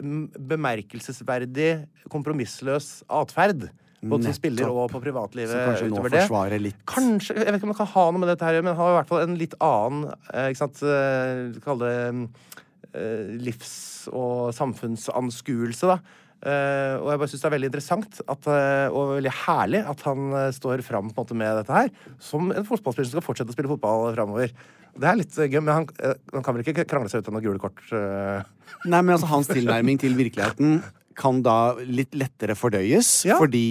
Speaker 1: mm, bemerkelsesverdig, kompromissløs atferd. Både som
Speaker 2: Nettopp.
Speaker 1: spiller og på privatlivet.
Speaker 2: Så kanskje nå
Speaker 1: utover det.
Speaker 2: forsvarer litt.
Speaker 1: Kanskje, Jeg vet ikke om det kan ha noe med dette her å gjøre, men han har i hvert fall en litt annen eh, ikke sant, eh, Kall det eh, livs- og samfunnsanskuelse, da. Eh, og jeg bare syns det er veldig interessant at, eh, og veldig herlig at han eh, står fram på en måte med dette her, som en fotballspiller som skal fortsette å spille fotball framover. Det er litt eh, gøy, men han, eh, han kan vel ikke krangle seg ut av noen gule kort? eh?
Speaker 2: Nei, men altså, hans tilnærming til virkeligheten kan da litt lettere fordøyes,
Speaker 1: Ja.
Speaker 2: fordi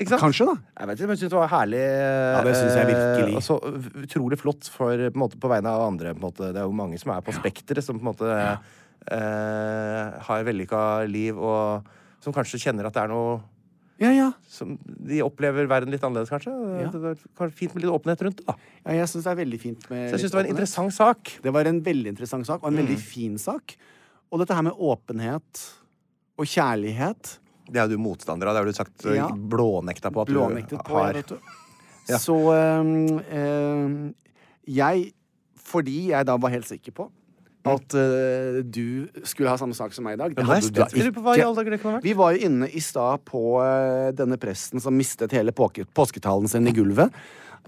Speaker 1: Ikke sant?
Speaker 2: Kanskje, da.
Speaker 1: Jeg vet ikke, men jeg syns det var herlig. Ja,
Speaker 2: det synes jeg virkelig.
Speaker 1: Og så utrolig flott for, på, en måte, på vegne av andre. På en måte. Det er jo mange som er på spekteret, som på en måte eh, har vellykka liv, og som kanskje kjenner at det er noe
Speaker 2: Ja, ja.
Speaker 1: som De opplever verden litt annerledes, kanskje.
Speaker 2: Ja.
Speaker 1: Det var kanskje fint med litt åpenhet rundt det, da.
Speaker 2: ja jeg syns det er veldig fint med
Speaker 1: Så jeg syns
Speaker 2: litt
Speaker 1: det var en
Speaker 2: åpenhet.
Speaker 1: interessant sak.
Speaker 2: Det var en veldig interessant sak, og en
Speaker 1: Mm.
Speaker 2: veldig fin sak. Og dette her med åpenhet og kjærlighet
Speaker 1: Det er jo du motstander av. Det har du sagt eh,
Speaker 2: Ja.
Speaker 1: blånekta på at
Speaker 2: blånektet på,
Speaker 1: har.
Speaker 2: vet du. Så øhm, øhm, jeg Fordi jeg da var helt sikker på at øh, du skulle ha samme sak som meg i dag. Det
Speaker 1: Mm. Men
Speaker 2: hadde
Speaker 1: nei,
Speaker 2: du da
Speaker 1: jeg lurer på hva i
Speaker 2: ikke.
Speaker 1: alle dager det kan ha vært.
Speaker 2: Vi var jo inne i stad på øh, denne presten som mistet hele påke, påsketalen sin i gulvet.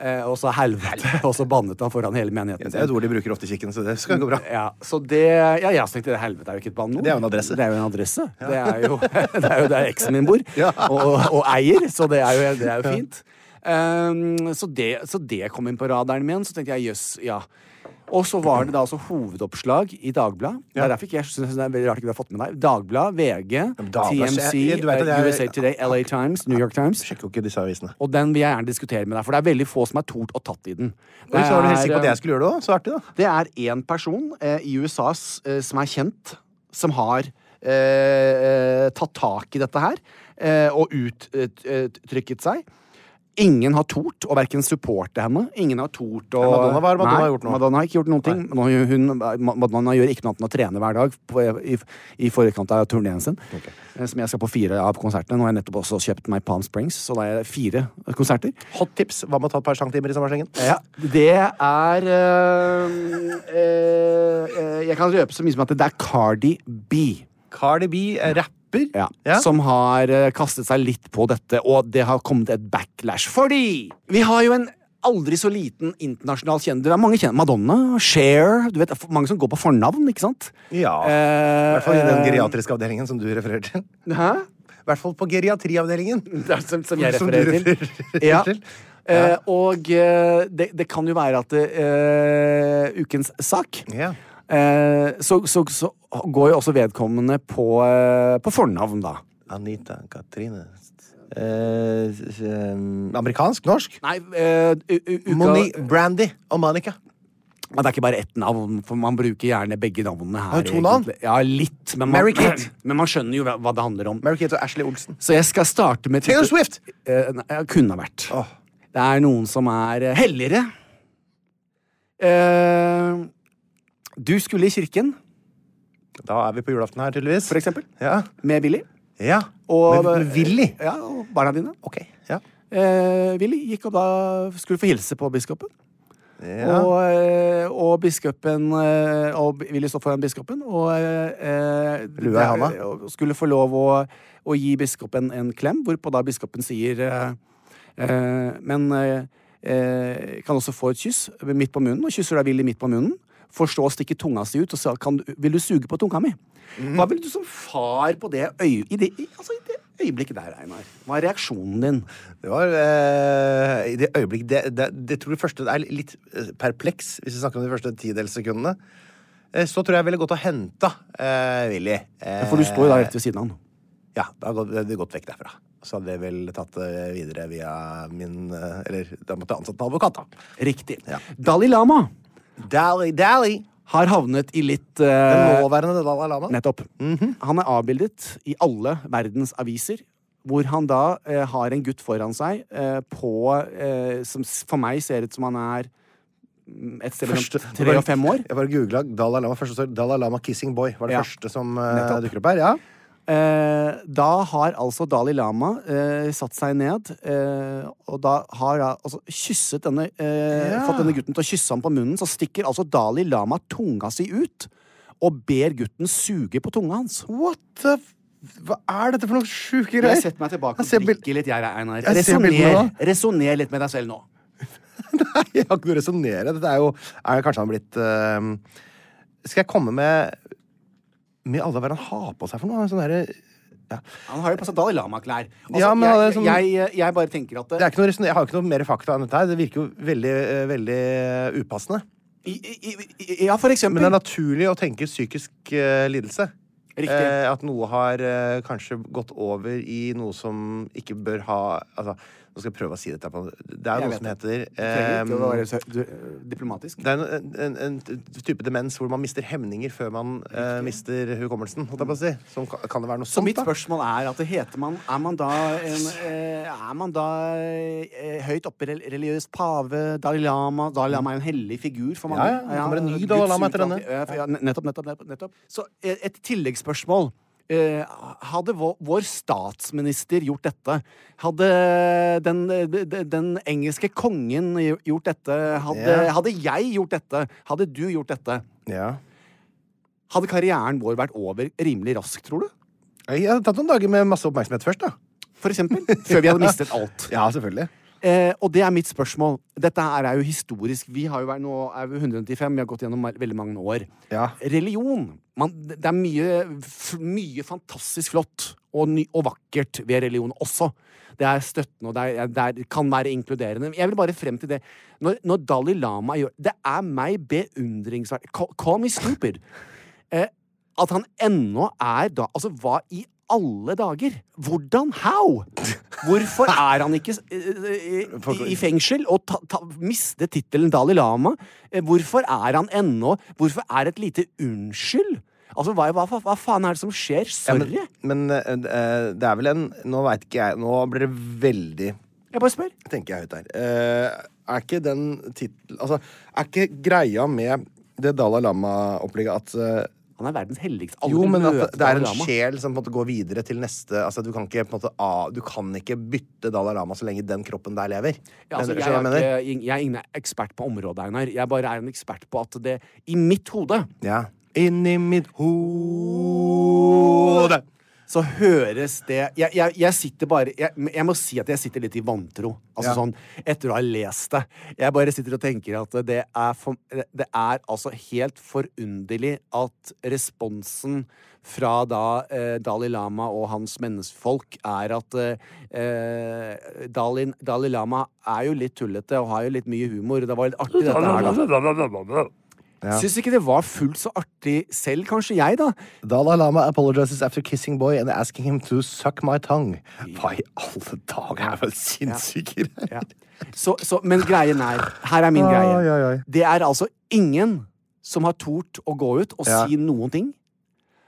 Speaker 2: eh, og så helvete, og så bannet han foran hele menigheten.
Speaker 1: Det er et ord de bruker ofte i kirken, så det skal gå bra.
Speaker 2: Ja, så det Ja, jeg tenkte det helvete er jo ikke et banneord.
Speaker 1: Det er jo en adresse.
Speaker 2: Det er jo en adresse. Det er jo, det er jo der eksen min bor, og, og eier, så det er jo, det er jo fint. Ehm, så, det, så det kom inn på radaren min, så tenkte jeg jøss, ja. Og så var det da altså hovedoppslag i Dagbladet. Det er derfor ikke jeg synes det er veldig rart ikke du har fått med deg. Dagbladet, VG,
Speaker 1: Dagbladet,
Speaker 2: TMC,
Speaker 1: jeg- du vet at
Speaker 2: eh,
Speaker 1: jeg-
Speaker 2: USA Today, LA Times, New York Times.
Speaker 1: Sjekker jo ikke disse avisene.
Speaker 2: Og den vil jeg gjerne diskutere med deg, for det er veldig få som er tort og tatt i den.
Speaker 1: Og så var du helt
Speaker 2: Det
Speaker 1: sikker på at
Speaker 2: er,
Speaker 1: jeg skulle gjøre det òg. Så artig, da.
Speaker 2: det er én person eh, i USA s- eh, som er kjent, som har eh, eh, tatt tak i dette her eh, og uttrykket seg. Ingen har tort å verken supporte henne. Ingen har tort å
Speaker 1: Ja, Madonna, hva har Madonna gjort nå?
Speaker 2: Madonna har ikke gjort noen ting. Nå- Hun, Ma- Madonna gjør ikke noe annet enn å trene hver dag på, i, i forkant av turneen sin. Eh, Som jeg skal på fire av konsertene. Nå har jeg nettopp også kjøpt meg Palm Springs, så da er det fire konserter.
Speaker 1: Hot tips. Hva med å ta et par centimeter i sommersengen?
Speaker 2: Ja, det er øhm, øh, øh, Jeg kan røpe så mye som at det er Cardi B.
Speaker 1: Cardi B er rapper.
Speaker 2: Ja,
Speaker 1: Ja.
Speaker 2: Som eh, har øh, kastet seg litt på dette, og det har kommet et backlash. Fordi vi har jo en aldri så liten internasjonal kjendis. Det er mange kjente. Madonna, Cher Du vet, det er mange som går på fornavn, ikke sant?
Speaker 1: Ja. I
Speaker 2: Eh,
Speaker 1: hvert fall i den
Speaker 2: eh,
Speaker 1: geriatriske avdelingen som du refererer til.
Speaker 2: Hæ?
Speaker 1: I hvert fall på geriatriavdelingen.
Speaker 2: Det er som, som jeg
Speaker 1: Som
Speaker 2: refererer
Speaker 1: du
Speaker 2: til.
Speaker 1: refererer
Speaker 2: Ja.
Speaker 1: til.
Speaker 2: Eh, og eh, det, det kan jo være at eh, ukens sak
Speaker 1: Ja.
Speaker 2: eh, så, så, så går jo også vedkommende på, eh, på fornavn, da.
Speaker 1: Anita Katrine eh, s- eh, Amerikansk? Norsk?
Speaker 2: Nei, eh, u, u, uka,
Speaker 1: Moni, Brandy og Monica.
Speaker 2: Ja, Det er ikke bare ett navn, for man bruker gjerne begge navnene her.
Speaker 1: Har du to navn?
Speaker 2: egentlig. Ja, litt, men man,
Speaker 1: Mary Kate.
Speaker 2: men man skjønner jo hva, hva det handler om.
Speaker 1: Mary-Kate og Ashley Olsen.
Speaker 2: Så jeg skal starte med
Speaker 1: Taylor Swift! Ah.
Speaker 2: Eh, nei, jeg kunne ha vært. Det er noen som er eh, helligere. Eh, du skulle i kirken,
Speaker 1: Da er vi på julaften her, tydeligvis.
Speaker 2: for eksempel,
Speaker 1: Ja.
Speaker 2: med Willy.
Speaker 1: ja.
Speaker 2: Og- eh,
Speaker 1: men, men Willy?
Speaker 2: Ja, og barna dine.
Speaker 1: Ok. Ja.
Speaker 2: Eh, Willy gikk opp da skulle få hilse på biskopen.
Speaker 1: ja.
Speaker 2: Og, eh, og biskopen eh, Og bi- Willy stå foran biskopen og eh, eh,
Speaker 1: Lua i handa.
Speaker 2: og Skulle få lov å, å gi biskopen en klem, hvorpå da biskopen sier eh, eh, Men eh, eh, kan også få et kyss midt på munnen, og kysser da Willy midt på munnen. Forstå å stikke tunga si ut og sa kan du, 'Vil du suge på tunga mi?'
Speaker 1: Mhm.
Speaker 2: Hva ville du som far på det øy, i, det, i, altså, i det øyeblikket der, Einar? Hva er reaksjonen din?
Speaker 1: Det var eh, I det øyeblikk det, det, det tror jeg første det er litt eh, perpleks, hvis vi snakker om de første tidelssekundene. Eh, Så tror jeg jeg ville gått og henta eh, Willy. Eh,
Speaker 2: For du står jo da rett ved siden av han.
Speaker 1: Ja, da hadde det gått vekk derfra. Så hadde jeg vel tatt det videre via min eh, Eller da måtte jeg ansatt en advokat, da.
Speaker 2: Riktig.
Speaker 1: Ja.
Speaker 2: Dalai Lama
Speaker 1: Dally, Dally!
Speaker 2: har havnet i litt
Speaker 1: Den
Speaker 2: eh,
Speaker 1: nåværende Dalai Lama.
Speaker 2: Nettopp. Han er avbildet i alle verdens aviser. Hvor han da eh, har en gutt foran seg eh, på eh, Som s- for meg ser ut som han er mm, et sted
Speaker 1: Første-
Speaker 2: mellom tre og fem år.
Speaker 1: Jeg bare googla Dalai Lama. Første står Dalai Lama Kissing Boy. Var det
Speaker 2: Ja.
Speaker 1: første som eh,
Speaker 2: Nettopp.
Speaker 1: dukker opp her. Ja.
Speaker 2: Eh, da har altså Dalai Lama eh, satt seg ned, eh, og da har han altså kysset denne eh,
Speaker 1: Ja.
Speaker 2: Fått denne gutten til å kysse ham på munnen. Så stikker altså Dalai Lama tunga si ut og ber gutten suge på tunga hans.
Speaker 1: What the f- Hva er dette for noen sjuke
Speaker 2: Jeg
Speaker 1: greier?
Speaker 2: setter meg tilbake
Speaker 1: Jeg
Speaker 2: og
Speaker 1: ser bil-
Speaker 2: drikker litt, jeg, Einar.
Speaker 1: Jeg ser
Speaker 2: Resoner,
Speaker 1: bildene
Speaker 2: resoner litt med deg selv nå.
Speaker 1: Nei, jeg har ikke noe å resonnere. Dette er jo er det Kanskje han har blitt eh, Skal jeg komme med Med alle hva er det han har på seg for noe? Sånn derre- ja.
Speaker 2: Han har jo på seg Dalai Lama-klær. Altså,
Speaker 1: Ja, men han er
Speaker 2: jeg,
Speaker 1: sånn-
Speaker 2: jeg, jeg bare tenker at
Speaker 1: Det er ikke noe resonner- Jeg har jo ikke noe mer fakta enn dette her. Det virker jo veldig, eh, veldig eh, upassende.
Speaker 2: I, i, i, Ja, for eksempel.
Speaker 1: Men det er naturlig å tenke psykisk eh, lidelse.
Speaker 2: Riktig.
Speaker 1: Eh, at noe har eh, kanskje gått over i noe som ikke bør ha Altså, nå skal jeg prøve å si dette på Det er
Speaker 2: Jeg
Speaker 1: jo
Speaker 2: vet
Speaker 1: noe som heter
Speaker 2: Du trenger ikke å
Speaker 1: eh,
Speaker 2: være så- du- øh, diplomatisk.
Speaker 1: det er en, en, en type demens hvor man mister hemninger før man eh, mister hukommelsen. Holdt jeg på å si. Som, kan kan det være noe
Speaker 2: Så
Speaker 1: sånt,
Speaker 2: mitt
Speaker 1: da?
Speaker 2: spørsmål er at det heter man Er man da en eh, Er man da eh, høyt oppe rel- religiøs pave? Dalai Lama? Dalai Lama er en hellig figur for mange.
Speaker 1: Ja, ja, det kommer en ny Dalai Lama etter denne.
Speaker 2: Ja, for- ja, nettopp, nettopp, nettopp, nettopp. Så eh, et tilleggsspørsmål. Eh, hadde vår, vår statsminister gjort dette? Hadde den, den, den engelske kongen gjort dette? Hadde,
Speaker 1: Ja.
Speaker 2: hadde jeg gjort dette? Hadde du gjort dette?
Speaker 1: Ja.
Speaker 2: Hadde karrieren vår vært over rimelig raskt, tror du?
Speaker 1: Jeg hadde tatt noen dager med masse oppmerksomhet først, da.
Speaker 2: For eksempel. Før vi hadde mistet alt.
Speaker 1: Ja, selvfølgelig.
Speaker 2: Eh, og det er mitt spørsmål. Dette her er jo historisk. Vi har jo vært, nå er vi 195, vi har gått gjennom veldig mange år.
Speaker 1: Ja.
Speaker 2: Religion. Man, det er mye, f- mye fantastisk flott og, ny, og vakkert ved religion også. Det er støttende, og det, er, det er, kan være inkluderende. Jeg vil bare frem til det. Når, når Dalai Lama gjør Det er meg beundringsverdig Call, call me stupid. Eh, at han ennå er da Altså, hva i alle dager? Hvordan? How? Hvorfor er han ikke eh, i, i fengsel og ta, ta, miste tittelen Dalai Lama? Eh, Hvorfor er han ennå Hvorfor er et lite unnskyld? Altså, hva, hva, hva faen er det som skjer?
Speaker 1: Ja,
Speaker 2: Sorry.
Speaker 1: men men eh, eh, det er vel en Nå veit ikke jeg Nå blir det veldig
Speaker 2: Jeg bare spør.
Speaker 1: tenker jeg høyt her. Eh, er ikke den titel... Altså, er ikke greia med det Dalai Lama-opplegget at eh,
Speaker 2: Han er verdens helligste. Aldri
Speaker 1: Jo, men at
Speaker 2: møter
Speaker 1: det- det er
Speaker 2: Dalai
Speaker 1: en
Speaker 2: Lama.
Speaker 1: sjel som på en måte går videre til neste altså, du, kan ikke, på en måte, ah, du kan ikke bytte Dalai Lama så lenge den kroppen der lever.
Speaker 2: Ja, altså,
Speaker 1: Mener du-
Speaker 2: jeg,
Speaker 1: skjønner
Speaker 2: er
Speaker 1: hva jeg mener?
Speaker 2: ikke, jeg er ingen ekspert på området, Einar. Jeg bare er en ekspert på at det i mitt hode
Speaker 1: Ja. Inni mitt hode
Speaker 2: så høres det Jeg, jeg, jeg sitter bare jeg, men jeg må si at jeg sitter litt i vantro. Altså
Speaker 4: Ja.
Speaker 2: sånn etter å ha lest det. Jeg bare sitter og tenker at det er, for, det er altså helt forunderlig at responsen fra da eh, Dalai Lama og hans menneskefolk er at eh, eh, Dalai, Dalai Lama er jo litt tullete og har jo litt mye humor. Det var litt artig, dette her, da. Syns ikke det var fullt så artig selv, kanskje jeg, da.
Speaker 1: Dalai Lama apologizes after kissing boy and asking him to suck my tongue. Hva i alle dager er vel sinnssyke greier?
Speaker 2: Så, så, men greien er Her er min greie.
Speaker 1: Ai, ai, ai.
Speaker 2: Det er altså ingen som har tort å gå ut og
Speaker 4: Ja.
Speaker 2: si noen ting.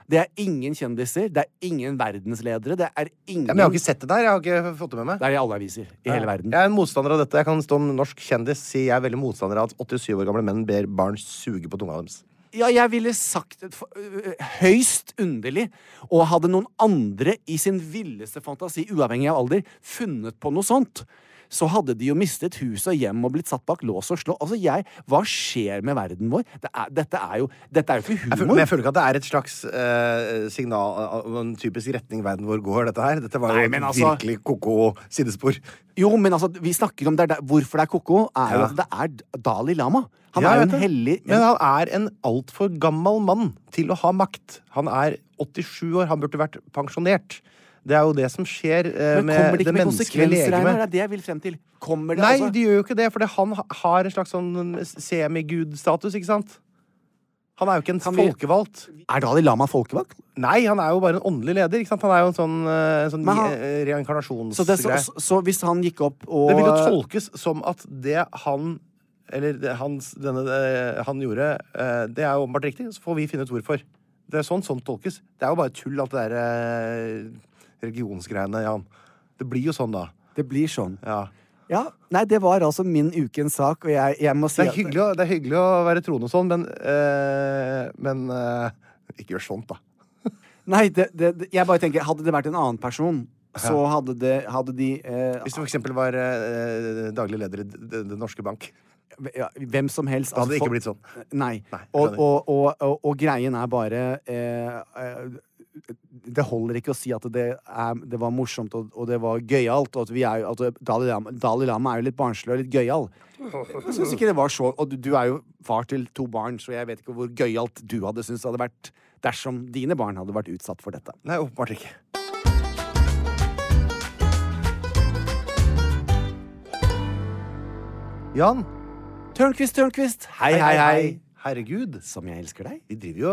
Speaker 2: Det er ingen kjendiser, det er ingen verdensledere, det er ingen
Speaker 1: Ja, men jeg har ikke sett det der. Jeg har ikke fått det med meg.
Speaker 2: Det er i alle aviser i hele verden.
Speaker 1: Jeg er en motstander av dette. Jeg kan stå om norsk kjendis si jeg er veldig motstander av at 87 år gamle menn ber barn suge på tunga deres.
Speaker 2: Ja, jeg ville sagt det for- øh, høyst underlig, og hadde noen andre i sin villeste fantasi, uavhengig av alder, funnet på noe sånt, så hadde de jo mistet hus og hjem og blitt satt bak lås og slå. Altså, jeg Hva skjer med verden vår? Det er, dette, er jo, dette er jo
Speaker 1: Jeg
Speaker 2: ikke humor.
Speaker 1: føler, men jeg føler ikke at det er et slags eh, signal av en typisk retning verden vår går, dette her. Dette var jo
Speaker 2: Nei, men altså-
Speaker 1: virkelig ko-ko sidespor.
Speaker 2: Jo, men altså, vi snakker om det er der, hvorfor det er koko, er jo
Speaker 1: Ja.
Speaker 2: at det er D- Dalai Lama. Han
Speaker 1: Ja,
Speaker 2: er jo
Speaker 1: jeg vet
Speaker 2: en
Speaker 1: det.
Speaker 2: hellig
Speaker 1: Men eh, han er en altfor gammel mann til å ha makt. Han er 87 år, han burde vært pensjonert. Det er jo det som skjer eh,
Speaker 2: Men kommer
Speaker 1: med
Speaker 2: det
Speaker 1: det
Speaker 2: ikke med
Speaker 1: menneskelige
Speaker 2: konsekvenser, Einar? Det
Speaker 1: legemet.
Speaker 2: er det jeg vil frem til. Kommer det,
Speaker 1: Nei,
Speaker 2: altså?
Speaker 1: de gjør jo ikke det, for han ha- har en slags sånn semigud-status, ikke sant? Han er jo ikke en
Speaker 2: Kan vi-
Speaker 1: folkevalgt.
Speaker 2: Er Dalai Lama folkevalgt?
Speaker 1: Nei, han er jo bare en åndelig leder. ikke sant? Han er jo en sånn, eh, sånn
Speaker 2: Men han-
Speaker 1: eh, reinkarnasjonsgreie.
Speaker 2: Så, det, så, så, så hvis han gikk opp og
Speaker 1: Det
Speaker 2: eh,
Speaker 1: vil jo tolkes som at det han Eller det, hans, denne, eh, han gjorde, eh, det er jo åpenbart riktig. Så får vi finne ut hvorfor. Det er sånn sånn tolkes. Det er jo bare tull, alt det der eh, religionsgreiene, Jan. Det blir jo sånn, da.
Speaker 2: Det blir sånn.
Speaker 1: Ja.
Speaker 2: Ja. Nei, det var altså min ukens sak, og jeg, jeg må si
Speaker 1: Det er
Speaker 2: at-
Speaker 1: hyggelig, å- det er hyggelig å være troende og sånn, men eh, Men eh, ikke gjør sånt, da.
Speaker 2: Nei, det, det, det, jeg bare tenker, hadde det vært en annen person, så hadde det Hadde de eh,
Speaker 1: Hvis du for eksempel var eh, daglig leder i D- D- Den norske bank.
Speaker 2: ja, Hvem som helst
Speaker 1: Da hadde det
Speaker 2: altså,
Speaker 1: ikke blitt sånn.
Speaker 2: Nei.
Speaker 1: Nei,
Speaker 2: og,
Speaker 1: skjønner.
Speaker 2: og, og, og, og greien er bare eh, eh, Det holder ikke å si at det, er, det var morsomt og, og det var gøyalt. Og at vi er, jo- at Dalai, Lama, Dalai Lama er jo litt barnslig og litt gøyal. Jeg syns ikke det var så Og du, du er jo far til to barn, så jeg vet ikke hvor gøyalt du hadde syntes det hadde vært dersom dine barn hadde vært utsatt for dette.
Speaker 1: Nei, åpenbart ikke. Jan.
Speaker 2: Tørnquist, Tørnquist, hei, hei, hei.
Speaker 1: Herregud.
Speaker 2: Som jeg elsker deg.
Speaker 1: Vi driver jo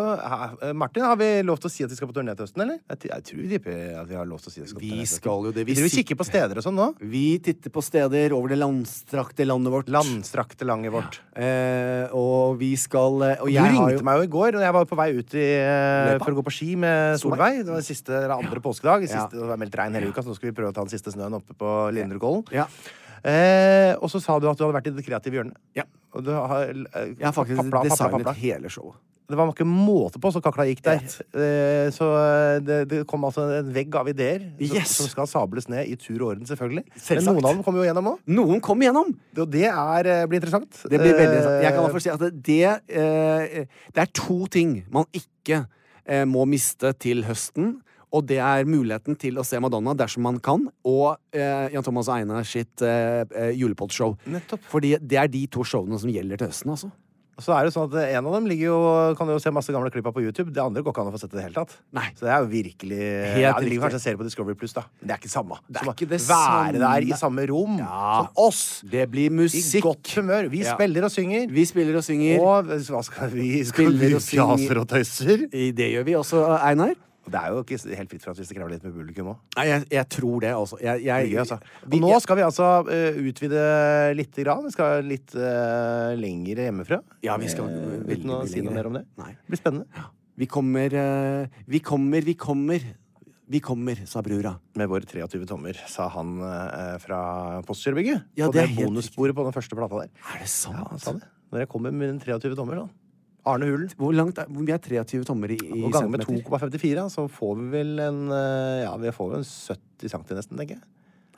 Speaker 1: eh, Martin, har vi lov til å si at vi skal på turné til høsten, eller? Jeg, t- jeg tror vi tipper at vi har lov til å si at vi skal på
Speaker 2: Vi
Speaker 1: turné til høsten.
Speaker 2: skal jo det.
Speaker 1: Vi driver og kikker på steder og sånn nå.
Speaker 2: Vi titter på steder over det landstrakte landet vårt.
Speaker 1: Landstrakte landet vårt.
Speaker 2: Eh, og vi skal eh, Og
Speaker 1: Du
Speaker 2: jeg har
Speaker 1: ringte
Speaker 2: jo
Speaker 1: meg jo i går da jeg var på vei ut i, eh,
Speaker 2: Løypa?
Speaker 1: for å gå på ski med Solveig. Det var siste eller andre påskedag.
Speaker 2: Ja.
Speaker 1: Siste, det var meldt regn hele uka, så nå skulle vi prøve å ta den siste snøen oppe på Lindrekollen.
Speaker 2: Ja.
Speaker 1: Eh, og så sa du at du hadde vært i det kreative hjørnet.
Speaker 2: Ja.
Speaker 1: Og du har eh,
Speaker 2: Jeg har faktisk
Speaker 1: papla, papla,
Speaker 2: designet
Speaker 1: papla.
Speaker 2: hele showet.
Speaker 1: Det var ikke måte på så kakla gikk der.
Speaker 2: Yes.
Speaker 1: Eh, så det, det kom altså en vegg av ideer som,
Speaker 2: Yes.
Speaker 1: som skal sables ned i tur og orden, selvfølgelig. Men
Speaker 2: Selvsagt.
Speaker 1: noen av dem kommer jo gjennom òg.
Speaker 2: Noen kom igjennom!
Speaker 1: Og det er, eh, blir interessant.
Speaker 2: Det blir veldig
Speaker 1: Eh,
Speaker 2: interessant. Jeg kan bare få si at det, det, eh, det er to ting man ikke eh, må miste til høsten. Og det er muligheten til å se Madonna dersom man kan, og eh, Jan Thomas og Einar sitt eh, eh, julepodshow.
Speaker 1: Nettopp.
Speaker 2: Fordi det er de to showene som gjelder til høsten, altså.
Speaker 1: Så er det jo sånn at En av dem ligger jo, kan du jo se masse gamle klipp av på YouTube. Det andre går ikke an å få sett i det hele tatt.
Speaker 2: Nei.
Speaker 1: Så det er jo virkelig ja,
Speaker 2: Helt
Speaker 1: Det
Speaker 2: riktig.
Speaker 1: ligger kanskje en serie på Discovery Pluss, da. Men det er ikke samme.
Speaker 2: Det
Speaker 1: Som
Speaker 2: er
Speaker 1: å
Speaker 2: ikke det
Speaker 1: være der
Speaker 2: samme.
Speaker 1: i samme rom
Speaker 2: Ja.
Speaker 1: som oss.
Speaker 2: Det blir
Speaker 1: I
Speaker 2: musikk.
Speaker 1: godt humør. Vi
Speaker 2: Ja.
Speaker 1: spiller og synger.
Speaker 2: Vi spiller og synger.
Speaker 1: og hva skal vi? Skal
Speaker 2: Spiller
Speaker 1: vi
Speaker 2: og synger.
Speaker 1: fjaser og tøyser?
Speaker 2: I- Det gjør vi også, Einar.
Speaker 1: Det er jo ikke helt fritt for at hvis det krever litt med publikum òg.
Speaker 2: Nei, jeg, jeg tror det, altså. Jeg, jeg,
Speaker 1: Altså. Og
Speaker 2: vi-
Speaker 1: nå skal vi altså eh, utvide lite grann. Vi skal litt eh, lenger hjemmefra.
Speaker 2: Ja, vi skal
Speaker 1: Eh,
Speaker 2: veldig
Speaker 1: uten å
Speaker 2: mye
Speaker 1: si noe
Speaker 2: lenger.
Speaker 1: mer om det.
Speaker 2: Nei.
Speaker 1: Det blir spennende.
Speaker 2: Vi kommer, eh, vi kommer, vi kommer. Vi kommer, sa brura.
Speaker 1: Med våre 23 tommer, sa han eh, fra Postgirobygget.
Speaker 2: Ja,
Speaker 1: på
Speaker 2: det
Speaker 1: det,
Speaker 2: er helt altså.
Speaker 1: bonussporet på den første plata der.
Speaker 2: Er det sant?
Speaker 1: Ja, han sa det. Når jeg kommer med den 23 tommer, sånn. Arne Hulen.
Speaker 2: Hvor langt er, hvor vi er 23 tommer i, i
Speaker 1: Og ganger med
Speaker 2: centimeter?
Speaker 1: 2,54, så får vi vel en eh, Ja, vi får vel en 70 cm nesten, tenker jeg.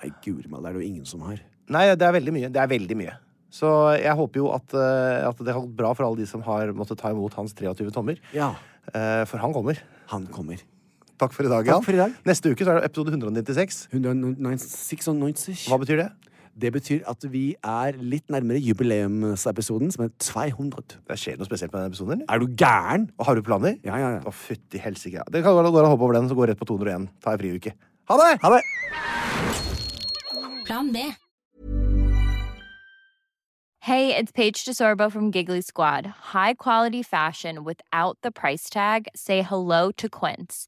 Speaker 2: Nei, guri malla, det er det jo ingen som har.
Speaker 1: Nei, det er veldig mye. Det er veldig mye. Så jeg håper jo at, eh, at det har gått bra for alle de som har måttet ta imot hans 23 tommer.
Speaker 2: Ja.
Speaker 1: Eh, For han kommer.
Speaker 2: Han kommer.
Speaker 1: Takk for i dag,
Speaker 2: Takk
Speaker 1: Jan.
Speaker 2: for i dag.
Speaker 1: Neste uke så er det episode 196.
Speaker 2: 196.
Speaker 1: Hva betyr det?
Speaker 2: Det betyr at vi er litt nærmere jubileumsepisoden, som er 200.
Speaker 1: Det skjer noe spesielt med den episoden, eller?
Speaker 2: Er du gæren?
Speaker 1: Og har du planer?
Speaker 2: Ja, ja, ja.
Speaker 1: Å, fytti helsike. ja. Det kan gå an å hoppe over den, så gå rett på 201. Ta ei friuke. Ha det! Ha det!
Speaker 5: Plan B.
Speaker 6: Hey, it's Paige DeSorbo from Giggly Squad. High quality fashion without the price tag. Say hello to Quince.